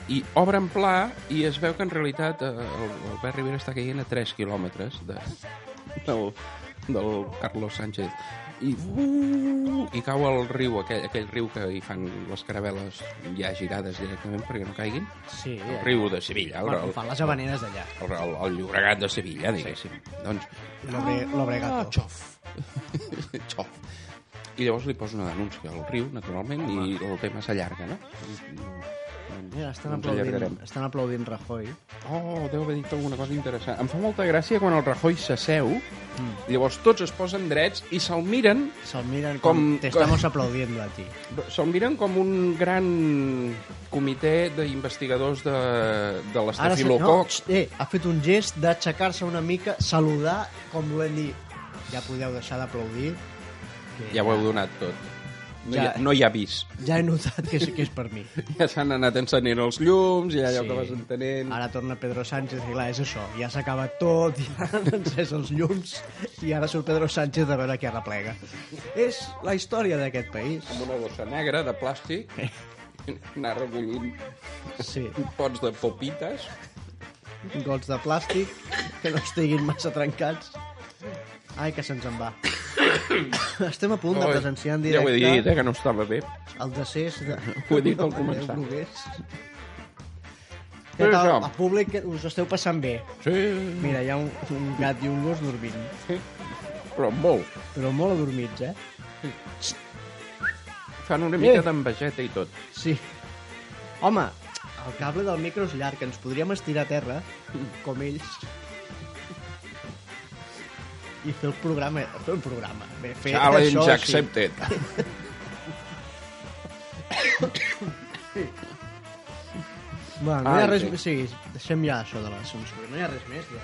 I obre en pla i es veu que en realitat eh, el Albert Rivera està caient a 3 quilòmetres de, del, del Carlos Sánchez. I, uh, I cau al riu, aquell, aquell riu que hi fan les caravel·les ja girades directament perquè no caiguin.
Sí. eh.
El riu de Sevilla, Ah, el,
Bueno,
el,
fan les habaneres d'allà.
el, el, el Llobregat de Sevilla, diguéssim. Doncs,
L'obre- L'obregato.
Ah, xof. [LAUGHS] xof. I llavors li posa una denúncia al riu, naturalment, i el tema s'allarga, no? Ens-
Mira, estan,
ens
aplaudint,
allargarem.
estan aplaudint Rajoy.
Oh, deu haver dit alguna cosa interessant. Em fa molta gràcia quan el Rajoy s'asseu, mm. llavors tots es posen drets i se'l miren,
Se'l miren
Com-
com... com... Te estamos aplaudiendo a ti.
se'l miren com un gran comitè d'investigadors de, de
se-
l'estafilococs.
no, eh, ha fet un gest d'aixecar-se una mica, saludar, com volent dir, ja podeu deixar d'aplaudir. que
Ja ho heu donat tot. No, ja. hi,
Ja.
ha, no hi ha vis.
Ja he notat que és, que és per mi.
Ja s'han anat encenent els llums, ja allò
Sí.
que vas entenent...
Ara torna Pedro Sánchez i clar, és això, ja s'ha acabat tot, ja [LAUGHS] han encès els llums i ara surt Pedro Sánchez a veure què arreplega. És la història d'aquest país.
Amb una bossa negra de
[LAUGHS]
plàstic, anar recollint
Sí,
pots de popites...
gots de plàstic que no estiguin massa trencats. Ai, que se'ns en va. [COUGHS] Estem a punt de
Oi,
presenciar en
Ja ho
directe
he dit, eh, que no estava bé.
el decés de...
[LAUGHS] Ho he dit al
[LAUGHS] de
començar.
Déu Nogués. Què
Però
tal?
això-
El públic que us esteu passant bé.
Sí,
Mira, hi ha un, un gat i un gos dormint.
però molt.
Però molt adormits, eh?
Fan una mica
Eh.
d'envejeta i tot.
Sí. Home, el cable del micro és llarg, ens podríem estirar a terra, com ells. I fer el programa, fer un programa. Bé, fer
Challenge
això, sí. [LAUGHS]
accepted.
Bueno, no hi
Ai,
ha res
Ah, sí.
més. Sí, deixem ja això de la censura. No hi ha res més de...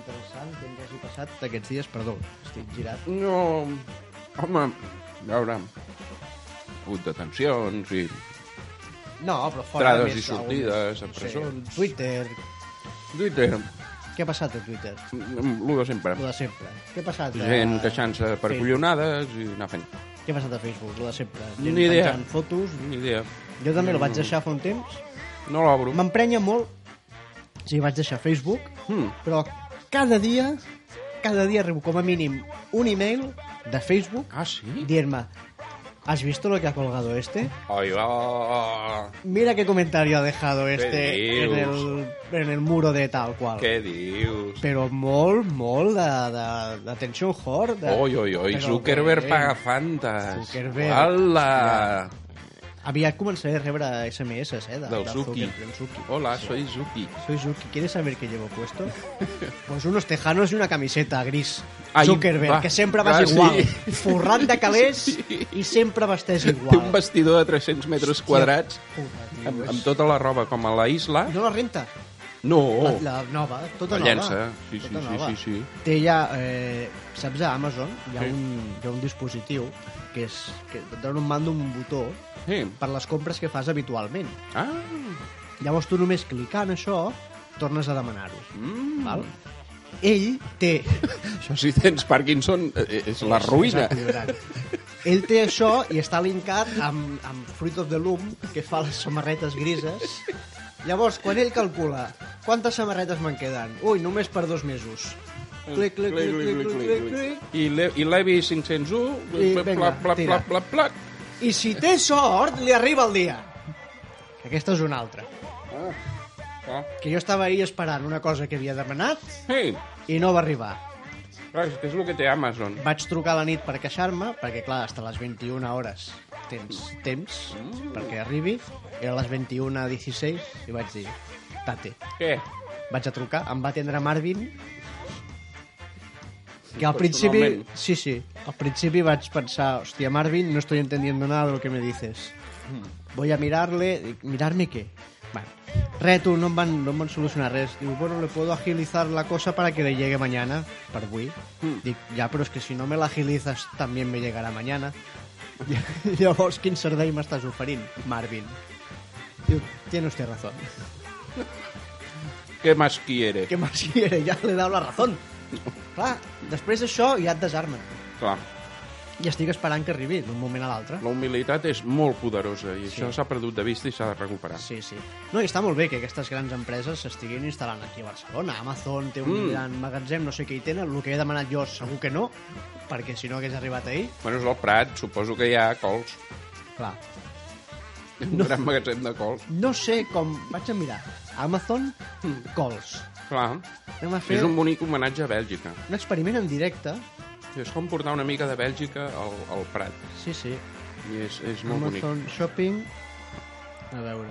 interessant que ens hagi passat aquests dies. Perdó, estic girat.
No... Home, a veure... Hagut detencions i...
No, però fora...
Entrades
més,
i sortides,
algunes,
en
no sé,
presons.
Twitter.
Twitter,
Què ha passat a Twitter?
el eh, de sempre.
Lo de sempre. Què ha passat a...
Gent queixant-se per
Sí.
collonades i anar fent.
Què ha passat a Facebook? Lo de sempre. Gent
Ni idea.
penjant fotos.
Ni idea.
Jo també el vaig deixar fa un temps.
No l'obro.
M'emprenya molt... O sigui, vaig deixar Facebook,
Mm.
però cada dia, cada dia rebo com a mínim un email de Facebook
Ah, sí?
Dierma, ¿has visto lo que ha colgado este?
Ai, va...
Mira qué comentario ha dejado este en
dius?
el, en el muro de tal cual.
Què dius?
Però molt, molt de, de, de tensió hor. De...
Oi, oi, oi,
Però
Zuckerberg
bé.
paga fantes.
Zuckerberg.
Hola.
Aviat començaré a rebre SMS, eh? De,
Del
de
Zuki.
Zucker- del Zuki.
Hola, soy Zuki.
Soy Zuki. ¿Quieres saber qué llevo
[LAUGHS]
puesto? Pues unos tejanos y una camiseta gris.
Ai,
Zuckerberg,
va,
que sempre vas
va, sí. [LAUGHS]
igual. Forrat de calés i sempre vesteix
Té un
igual.
vestidor de 300 metres quadrats
Puta, tio,
amb,
és-
amb tota la roba com a la isla.
No la renta.
No.
La, la nova, tota
Oh. La
nova.
llença, sí, sí,
tota
sí,
nova.
sí, sí.
Té ja, eh, saps, a Amazon hi ha,
Sí.
un, hi ha un dispositiu que, és, que et dona un mando amb un botó
Sí.
per les compres que fas habitualment.
Ah.
Llavors tu només clicant això tornes a demanar-ho.
Mm.
Val? Ell té...
Això si tens Parkinson eh, és la ruïna.
És acollonant. Ell té això i està linkat amb, amb Fruit of the Loom, que fa les samarretes grises. Llavors, quan ell calcula quantes samarretes me'n queden? Ui, només per dos mesos. Clic, clic, clic, clic, clic, clic, clic.
I, le, i l'Evi 501,
I
plac,
vinga,
plac, plac,
tira.
plac, plac, plac.
I si té sort, li arriba el dia. Aquesta és una altra.
Ah. Ah.
Que jo estava ahir esperant una cosa que havia demanat
Sí,
i no va arribar.
clar, és que és el que té Amazon.
Vaig trucar a la nit per queixar-me, perquè clar, hasta les 21 hores tens temps perquè arribi. Era les 21.16 i vaig dir, tate.
Què?
Vaig a trucar, em va atendre Marvin, que al principi...
personalment.
Sí, sí, al principi vaig pensar, hòstia, Marvin, no estoy entendiendo nada de lo que me dices. Voy a mirarle... Dic, ¿Mirarme qué? Bueno, re, tu, no em, van, no em van solucionar res. Diu, bueno, le puedo agilizar la cosa para que le llegue mañana, per avui. Dic, ja, però és que si no me la agilizas también me llegará mañana. [LAUGHS] Llavors, quin servei m'estàs oferint, Marvin? Diu, tiene usted razón.
Què més quiere?
que más quiere, ja le he dado la razón. Clar, després d'això ja et desarmen.
Clar,
I estic esperant que arribi d'un moment a l'altre.
la humilitat és molt poderosa i això s'ha perdut de vista i s'ha de recuperar.
Sí, sí. No, i està molt bé que aquestes grans empreses s'estiguin instal·lant aquí a Barcelona. Amazon té un
Mm.
mm. gran magatzem, no sé què hi tenen. El que he demanat jo segur que no, perquè si no hagués arribat ahir,
Bueno, és el Prat, suposo que hi ha cols.
clar.
Un gran magatzem de cols.
No sé com... Vaig a mirar. Amazon, cols.
Clar,
Anem a fer
Mm. és un
un...
bonic homenatge a Bèlgica.
un experiment en directe.
És com portar una mica de Bèlgica al, al Prat.
Sí, sí.
I és, és molt bonic.
Amazon Shopping. A veure.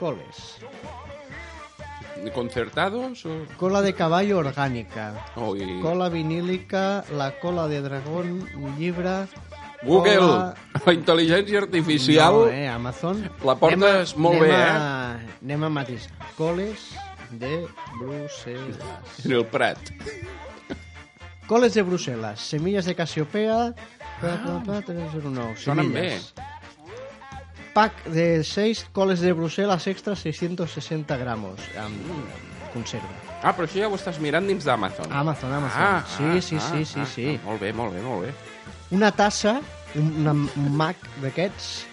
Coles.
Concertados o...
Cola de caballo orgànica.
Oh, i...
Cola vinílica, la cola de dragón, un llibre...
Google,
cola-
la intel·ligència artificial...
No, eh, Amazon.
La portes molt
anem
bé,
a, eh? Anem a matís. Coles de Brussel·les.
En el Prat.
Coles de Brussel·les, semillas de Casiopea, ah, 309,
Sonen
semillas. Pack de 6 coles de Brussel·les extra 660 gramos amb conserva.
Ah, però això ja ho estàs mirant dins d'Amazon.
Amazon, Amazon.
Ah,
sí,
ah,
sí,
ah,
sí, sí,
ah,
sí.
ah, Molt bé, molt bé, molt bé.
Una tassa, un, una- un mac d'aquests,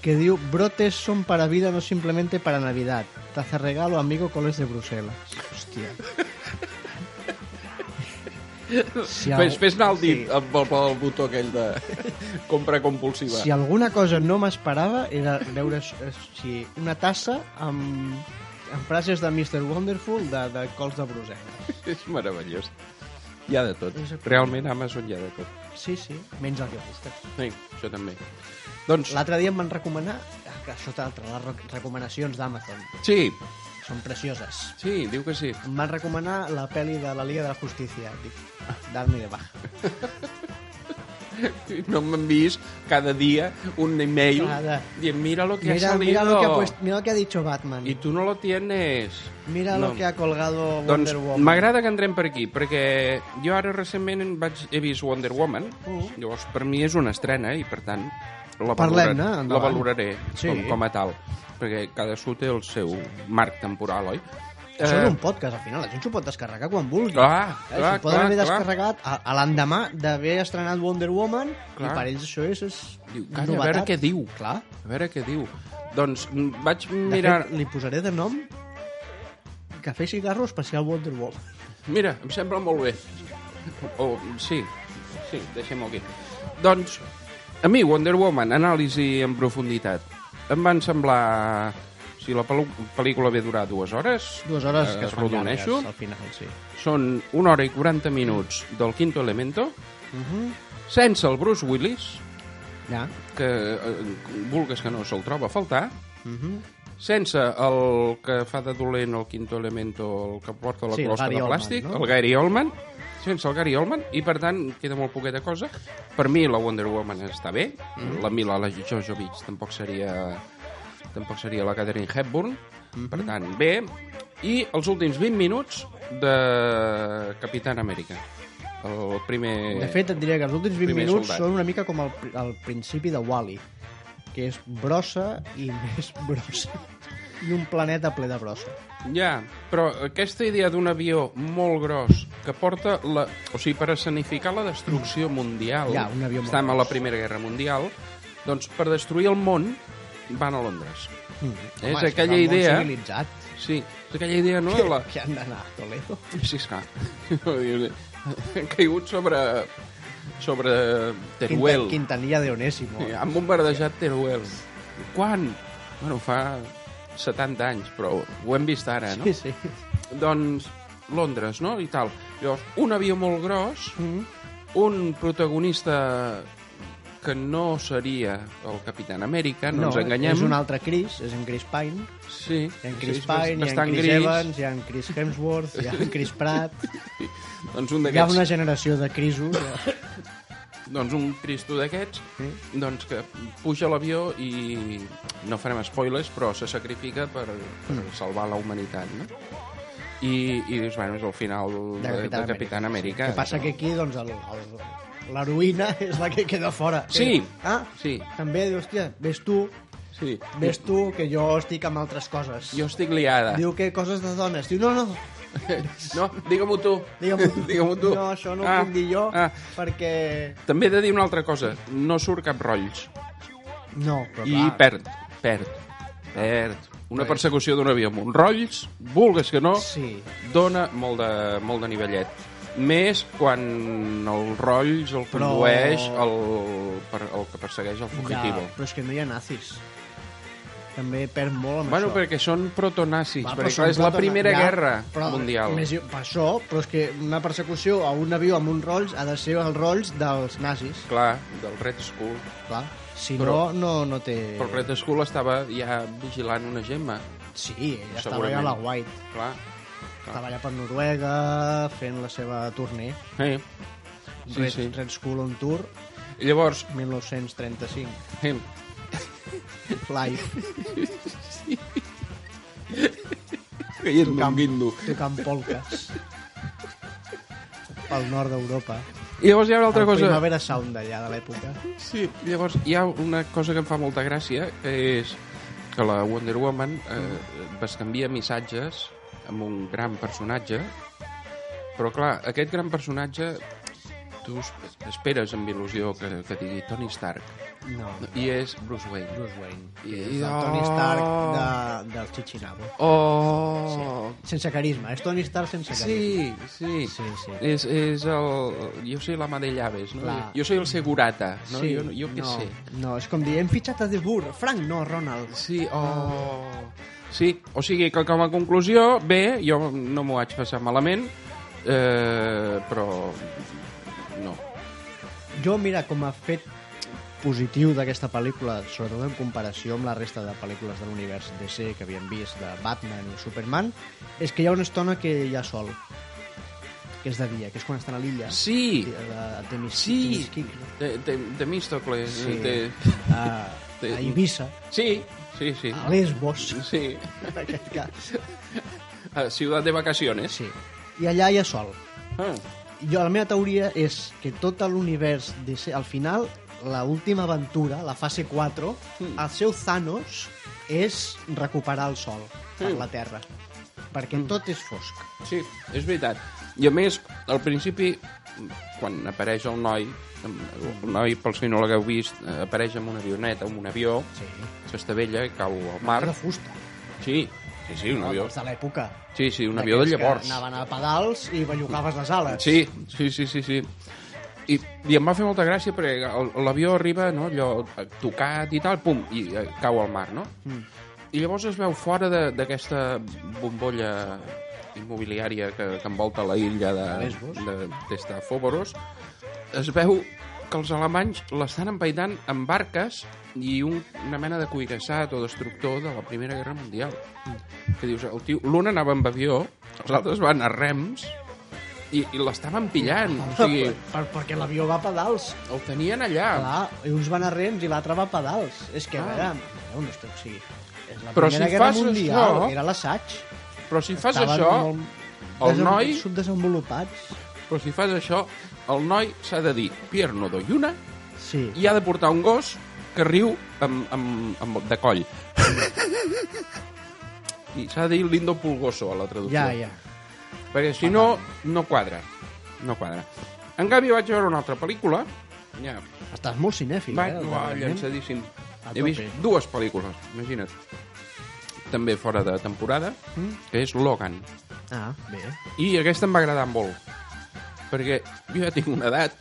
que diu brotes son para vida, no simplemente para Navidad. Taza regalo, amigo, coles de Brussel·les. Hòstia. Si,
Fes,
al-
fes anar el dit amb el, el botó aquell de [LAUGHS] compra compulsiva.
si alguna cosa no m'esperava era veure s- si una tassa amb, amb frases de Mr. Wonderful de, de cols de Brussel·les.
És meravellós. Hi ha de tot. Realment a Amazon hi ha de tot.
Sí, sí, menys el guionista.
Sí, això també. Doncs,
L'altre dia em van recomanar, que això t'altre, les rec- recomanacions d'Amazon,
sí,
són precioses.
sí, diu que sí.
Em van recomanar la pel·li de la Liga de la Justícia. Dic, dar-me de
[LAUGHS]
baja.
No m'enviïs cada dia un email
Cada.
dient mira lo que ha
Mira,
salido.
mira, lo que ha puest- mira lo que ha dicho Batman.
I tu no lo tienes.
Mira
no.
lo que ha colgado
Doncs
Wonder Woman.
m'agrada que entrem per aquí, perquè jo ara recentment en vaig, he vist Wonder Woman,
Mm.
llavors per mi és una estrena i per tant la, valoraré,
Parlem-ne,
la
endavant.
valoraré
Sí.
com, com a tal, perquè cadascú té el seu marc temporal, oi? Eh,
Això és un podcast, al final. La gent s'ho pot descarregar quan vulgui.
Clar,
Eh,
clar,
S'ho poden
clar,
haver
clar.
descarregat a, a l'endemà d'haver estrenat Wonder Woman
Clar.
i per ells això és, és
Diu, calla, a veure què diu.
Clar.
A veure què diu. Doncs mm, vaig
De
mirar...
fet, li posaré de nom Cafè Cigarro Especial Wonder Woman.
Mira, em sembla molt bé. O, sí, sí, deixem-ho aquí. Doncs, a mi Wonder Woman, anàlisi en profunditat, em van semblar... Si la pel- pel·lícula ve durar dues hores,
Dues hores
eh,
que es fan llargues
rodoneixo,
al final, sí.
són una hora i 40 minuts del Quinto Elemento, sense el Bruce Willis,
Mhm. Ja.
que eh, vulgues que no se'l troba a faltar,
Mm -hmm.
sense el que fa de dolent el quinto elemento, el que porta la
Sí,
sí,
el
closca
Gary
de
Oldman,
plàstic,
no?
el Gary Oldman, sense el Gary Oldman, i per tant queda molt poqueta cosa. Per mi la Wonder Woman està bé,
Mhm.
la Mila la Jojovic tampoc seria tampoc seria la Catherine Hepburn,
Mhm.
per tant, bé. I els últims 20 minuts de Capitán Amèrica. El primer...
De fet, et diré que els últims 20
Primer
minuts
soldat.
són una mica com el, pri- el principi de Wall-E, que és brossa i [LAUGHS] més brossa. I un planeta ple de brossa.
Ja, però aquesta idea d'un avió molt gros que porta la... O sigui, per escenificar la destrucció mundial...
Mm. Ja, un avió molt
Estem a la
gros.
Primera Guerra Mundial, doncs per destruir el món van a Londres.
Mm.
És Eh, aquella idea-
Molt civilitzat.
[LAUGHS] Sí, és aquella idea, no? de La...
Que han d'anar a Toledo.
Sí, esclar. Han caigut sobre... sobre Teruel.
Quinta- Quintanilla de Onésimo.
Sí, Han bombardejat Teruel. Quan? Bueno, fa 70 anys, però ho hem vist ara, no?
Sí, sí.
doncs, Londres, no? I tal. Llavors, un avió molt gros,
Mm.
un protagonista que no seria el Capitán Amèrica, no, no ens enganyem.
És un altre Chris, és en Chris Pine.
Sí,
Hi ha en Chris
sí,
Pine, hi ha
bastant
en Chris
gris.
Evans, hi ha en Chris Hemsworth, hi ha en
[LAUGHS]
Chris Pratt.
Doncs un
Hi ha
d'aquests,
una generació de Crisos.
doncs un Cristo d'aquests,
Sí.
doncs que puja a l'avió i no farem spoilers, però se sacrifica per, per
Mm.
salvar la humanitat, no? I, i dius, bueno, és el final de, de,
Capitán
de Capitán Amèrica.
El que passa que aquí, doncs, el- el- l'heroïna és la que queda fora.
Sí.
Ah,
Sí,
també, diu, hòstia, ves tu,
sí.
ves tu, que jo estic amb altres coses.
Jo estic liada.
Diu que coses de dones. Diu, no, no,
No, digue-m'ho tu.
digue-m'ho
[LAUGHS] Digue-m'ho tu.
No, això no
Ah,
ho puc dir jo,
ah.
perquè...
També he de dir una altra cosa. No surt cap rotlls.
No, però
I
clar,
perd. Perd. Perd. Una persecució d'un avió amb uns rolls, vulgues que no,
Sí.
dona molt de, molt de nivellet. Més quan els rolls el
Però-
condueix el, per, el que persegueix el fugitivo.
Ja, però és que no hi ha nazis. també perd molt amb
Bueno,
això.
perquè són protonazis,
Va, però
perquè
són
clar, és la
tota una-
primera
ja,
guerra
però,
mundial.
Més, per això, però és que una persecució a un avió amb uns rolls ha de ser els rolls dels nazis,
Clar, del Red Skull.
clar. Si
Però-
no, no, no té...
Però el Red Skull estava ja vigilant una gemma,
Sí, ell estava
Segurament.
allà a la White.
clar.
Estava allà per Noruega, fent la seva tournée.
Eh. Sí,
Red,
sí.
Red School on Tour,
Llavors,
1935.
eh, [LAUGHS]
Live,
caient
Tocam.
un guindo.
tocant polques. Pel nord d'Europa.
I llavors hi ha una altra
El
cosa...
Primavera Sound d'allà, de l'època.
Sí, llavors hi ha una cosa que em fa molta gràcia, que és que la Wonder Woman eh, es canvia missatges amb un gran personatge, però clar, aquest gran personatge tu es- esperes amb il·lusió que, que digui Tony Stark,
No,
i és Bruce Wayne.
Bruce Wayne.
I,
És el Tony Stark de, del Chichinabo.
Oh!
Sense carisma, és Tony Stark sense
Sí,
carisma.
sí.
Sí, sí.
És, és el... Jo soy la mà de llaves, no?
Clar.
Jo soy el segurata, no? Jo, jo què
no,
sé.
No, és com dir, hem fitxat a De Boer. Frank, no, Ronald.
Sí, oh... Sí, o sigui que com a conclusió, bé, jo no m'ho vaig passar malament, eh, però no.
Jo, mira, com a fet positiu d'aquesta pel·lícula, sobretot en comparació amb la resta de pel·lícules de l'univers DC que havíem vist, de Batman i Superman, és que hi ha una estona que hi ha sol, que és de dia, que és quan estan a l'illa.
Sí,
De, de, de Mis-
sí,
Temisquil, no?
de, de, de Mistocles.
Sí.
Sí. De...
A,
De-
a Eivissa,
sí, sí, sí.
a Lesbos,
Sí,
en aquest cas.
a Ciutat de Vacaciones.
Sí. I allà hi ha sol.
Ah,
Jo, la meva teoria és que tot l'univers DC, al final, la última aventura, la fase 4,
Hmm.
el seu Thanos és recuperar el sol per
Mm.
la Terra. Perquè
Hmm.
tot és fosc.
sí, és veritat. I a més, al principi, quan apareix el noi, el noi, pels que no l'hagueu vist, eh, apareix amb una avioneta, amb un avió,
Sí.
s'estavella i cau al
Era
mar.
de fusta.
Sí, sí, sí, un avió.
dels De l'època.
Sí, sí, un avió de
D'aquells que
llavors.
Anaven a pedals i bellugaves les ales.
Sí, sí, sí, sí, sí. I, I em va fer molta gràcia perquè el- l'avió arriba, no, allò eh, tocat i tal, pum, i eh, cau al mar, no?
Mm.
I llavors es veu fora de- d'aquesta bombolla immobiliària que, que envolta la illa de,
Lesbos.
de, des de Fóboros, es veu que els alemanys l'estan empaitant amb barques i un, una mena de cuirassat o destructor de la Primera Guerra Mundial. Que dius, el tio, l'un anava amb avió, els altres van a rems i, i l'estaven pillant. O sigui,
Per, perquè l'avió va a pedals.
el tenien allà.
Clar, i uns van a rems i l'altre va a pedals. És que, a
Ah.
veure, no, no estic, o sigui, és la
Però
Primera
si
Guerra
fas
Mundial,
això-
era l'assaig.
Però si fas
Estaven
això,
molt
el
desem-
noi-
Subdesenvolupats.
però si fas això, el noi s'ha de dir Pierno do Lluna
Sí.
i ha de portar un gos que riu amb, amb, amb de
[LAUGHS]
coll. I s'ha de dir Lindo Pulgoso a la traducció.
Ja, ja.
Perquè si no, no quadra. No quadra. En canvi, vaig veure una altra pel·lícula. Ja,
Estàs molt cinèfil,
vaig,
eh?
no,
darrerament.
llançadíssim.
A
He vist
tope.
dues pel·lícules, imagina't. També fora de temporada,
Mm.
que és Logan.
Ah, bé.
I aquesta em va agradar molt. Perquè jo ja tinc una edat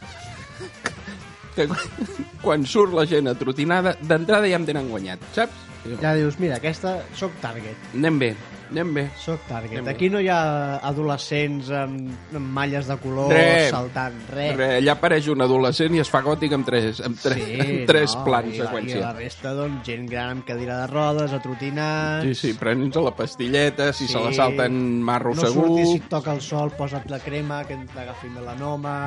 que [LAUGHS] quan surt la gent atrotinada, d'entrada ja em tenen guanyat, saps? Ja.
Ja dius, mira, aquesta... Soc target.
Anem bé, anem bé.
Soc target.
Anem bé.
Aquí no hi ha adolescents amb, amb malles de color
Res.
saltant. Res.
Re, allà apareix un adolescent i es fa gòtic amb tres, amb tres, amb tres
no,
plans
i la, I la
seqüència.
resta, doncs, gent gran amb cadira de rodes, atrotinats...
Sí, sí, prenent la pastilleta, si
Sí.
se la salten marro
no
segur.
surtis si et toca el sol, posa't la crema, que t'agafin melanoma...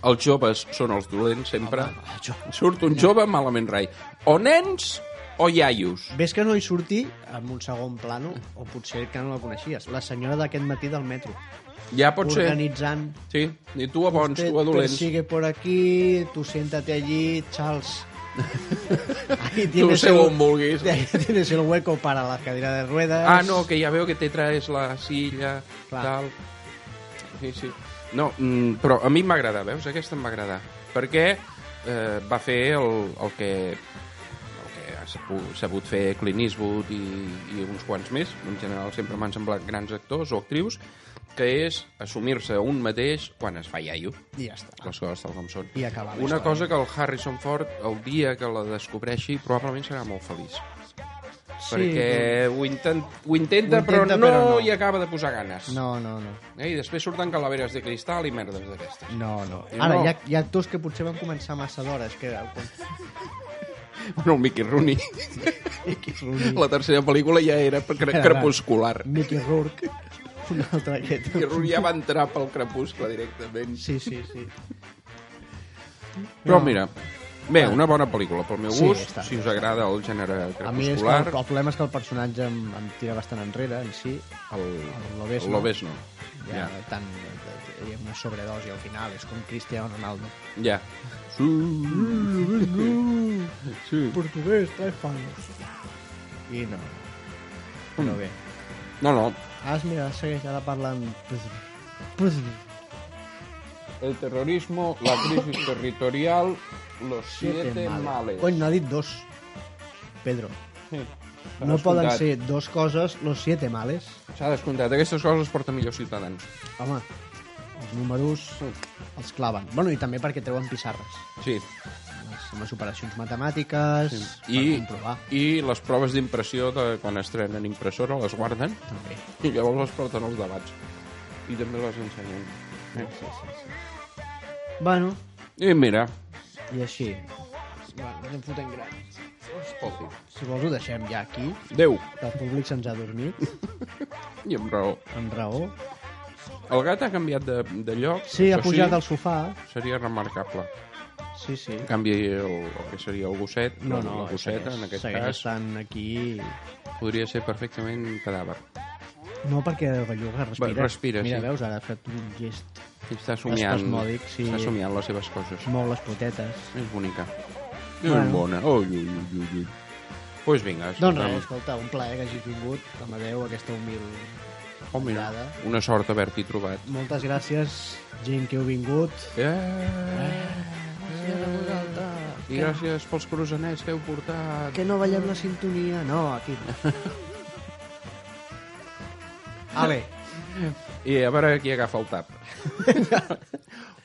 Mm. Els joves són els dolents, sempre.
Home, Ah, jo-
Surt un jove, malament rai. O nens o iaios.
Ves que no hi surti amb un segon plano, o potser que no la coneixies, la senyora d'aquest matí del metro,
Ja pot ser.
organitzant...
Sí, i tu a bons,
"Usted
tu a dolents.
persigue por aquí, tu siéntate allí,
[LAUGHS]
Charles. Ahí
sé on vulguis.
[LAUGHS] Ahí tienes el hueco para la cadira de ruedas.
Ah, no, que ja veu que te traes la silla,
Clar.
tal... Sí, sí. No, mm, però a mi m'agrada, veus? Aquesta em va agradar. Perquè eh, va fer el, el que el que ha sabut, sabut fer Clint Eastwood i, i uns quants més, en general sempre m'han semblat grans actors o actrius, que és assumir-se un mateix quan es fa iaio,
I ja està.
les coses tal com són.
I acabar la
Una
història.
cosa que el Harrison Ford, el dia que la descobreixi, probablement serà molt feliç.
Sí,
perquè ho, intent, doncs. ho, intenta,
Ho
però
intenta,
no,
però no.
hi acaba de posar ganes.
No, no, no.
Eh? I després surten calaveres de cristal i merdes [LAUGHS] d'aquestes.
No, no.
Jo
Ara,
no.
hi ha, hi ha actors que potser van començar massa d'hora. És que...
Bueno, el Mickey Rooney. [LAUGHS] La tercera pel·lícula ja era cre
Era
crepuscular.
Mickey Rourke. Un altre aquest.
Mickey Rooney ja va entrar pel crepuscle directament.
Sí, sí, sí.
Però
No.
mira, bé, una bona pel·lícula pel meu
Sí,
gust,
està,
si us agrada el gènere
A mi és que el,
crepuscular,
el problema és que el personatge em, em tira bastant enrere en si.
el,
el Lobezno.
el Lobezno.
Ja,
Ja,
yeah. tant, hi ha una sobredosi al final, és com Cristiano Ronaldo.
ja. Sí. Sí.
Portuguès, trae panos. I no. No bé.
No, no.
Ah, mira, segueix ara parlant...
El terrorismo, la crisis territorial, los siete males.
Cony, n'ha dit dos. Pedro. No poden ser dos coses los siete males.
S'ha descomptat. Aquestes coses porten millor ciutadans.
Home, els números els claven. Bueno, i també perquè treuen pissarres.
Sí.
Les, amb les operacions matemàtiques, sí. per
I,
comprovar.
I les proves d'impressió de quan estrenen impressora les guarden
També.
i llavors les porten als debats. I també les ensenyen. Eh?
Bueno,
I mira,
i així. Bueno, no em fotem gran.
escolti,
Si vols ho deixem ja aquí,
Déu,
que el públic se'ns ha dormit,
i amb raó.
amb raó.
El gat ha canviat de, de lloc.
Sí, ha
això
pujat al sofà.
Seria remarcable.
Sí, sí.
En canvi, el, el que seria el gosset,
No, no,
la gosseta,
segueix-
en aquest
segueix
cas,
estant aquí...
podria ser perfectament cadàver.
No, perquè el belluga respira.
Bé, respira,
Mira,
sí.
veus, ara ha fet un gest.
I està somiant,
Espasmòdic, sí.
està somiant les seves coses.
Mou les potetes.
És bonica.
Bueno.
És bona. Ui, ui, ui, ui, ui. Pues vinga,
Doncs
escoltem.
res, escolta, un plaer que hagis vingut, Amadeu, aquesta humil
Oh, mira,
mirada.
una sort haver-t'hi trobat.
Moltes gràcies, gent que heu vingut.
Eh, I gràcies pels cruzanets que heu portat.
Que no ballem la sintonia? No, aquí [LAUGHS] no. Ale,
I a veure qui agafa el tap.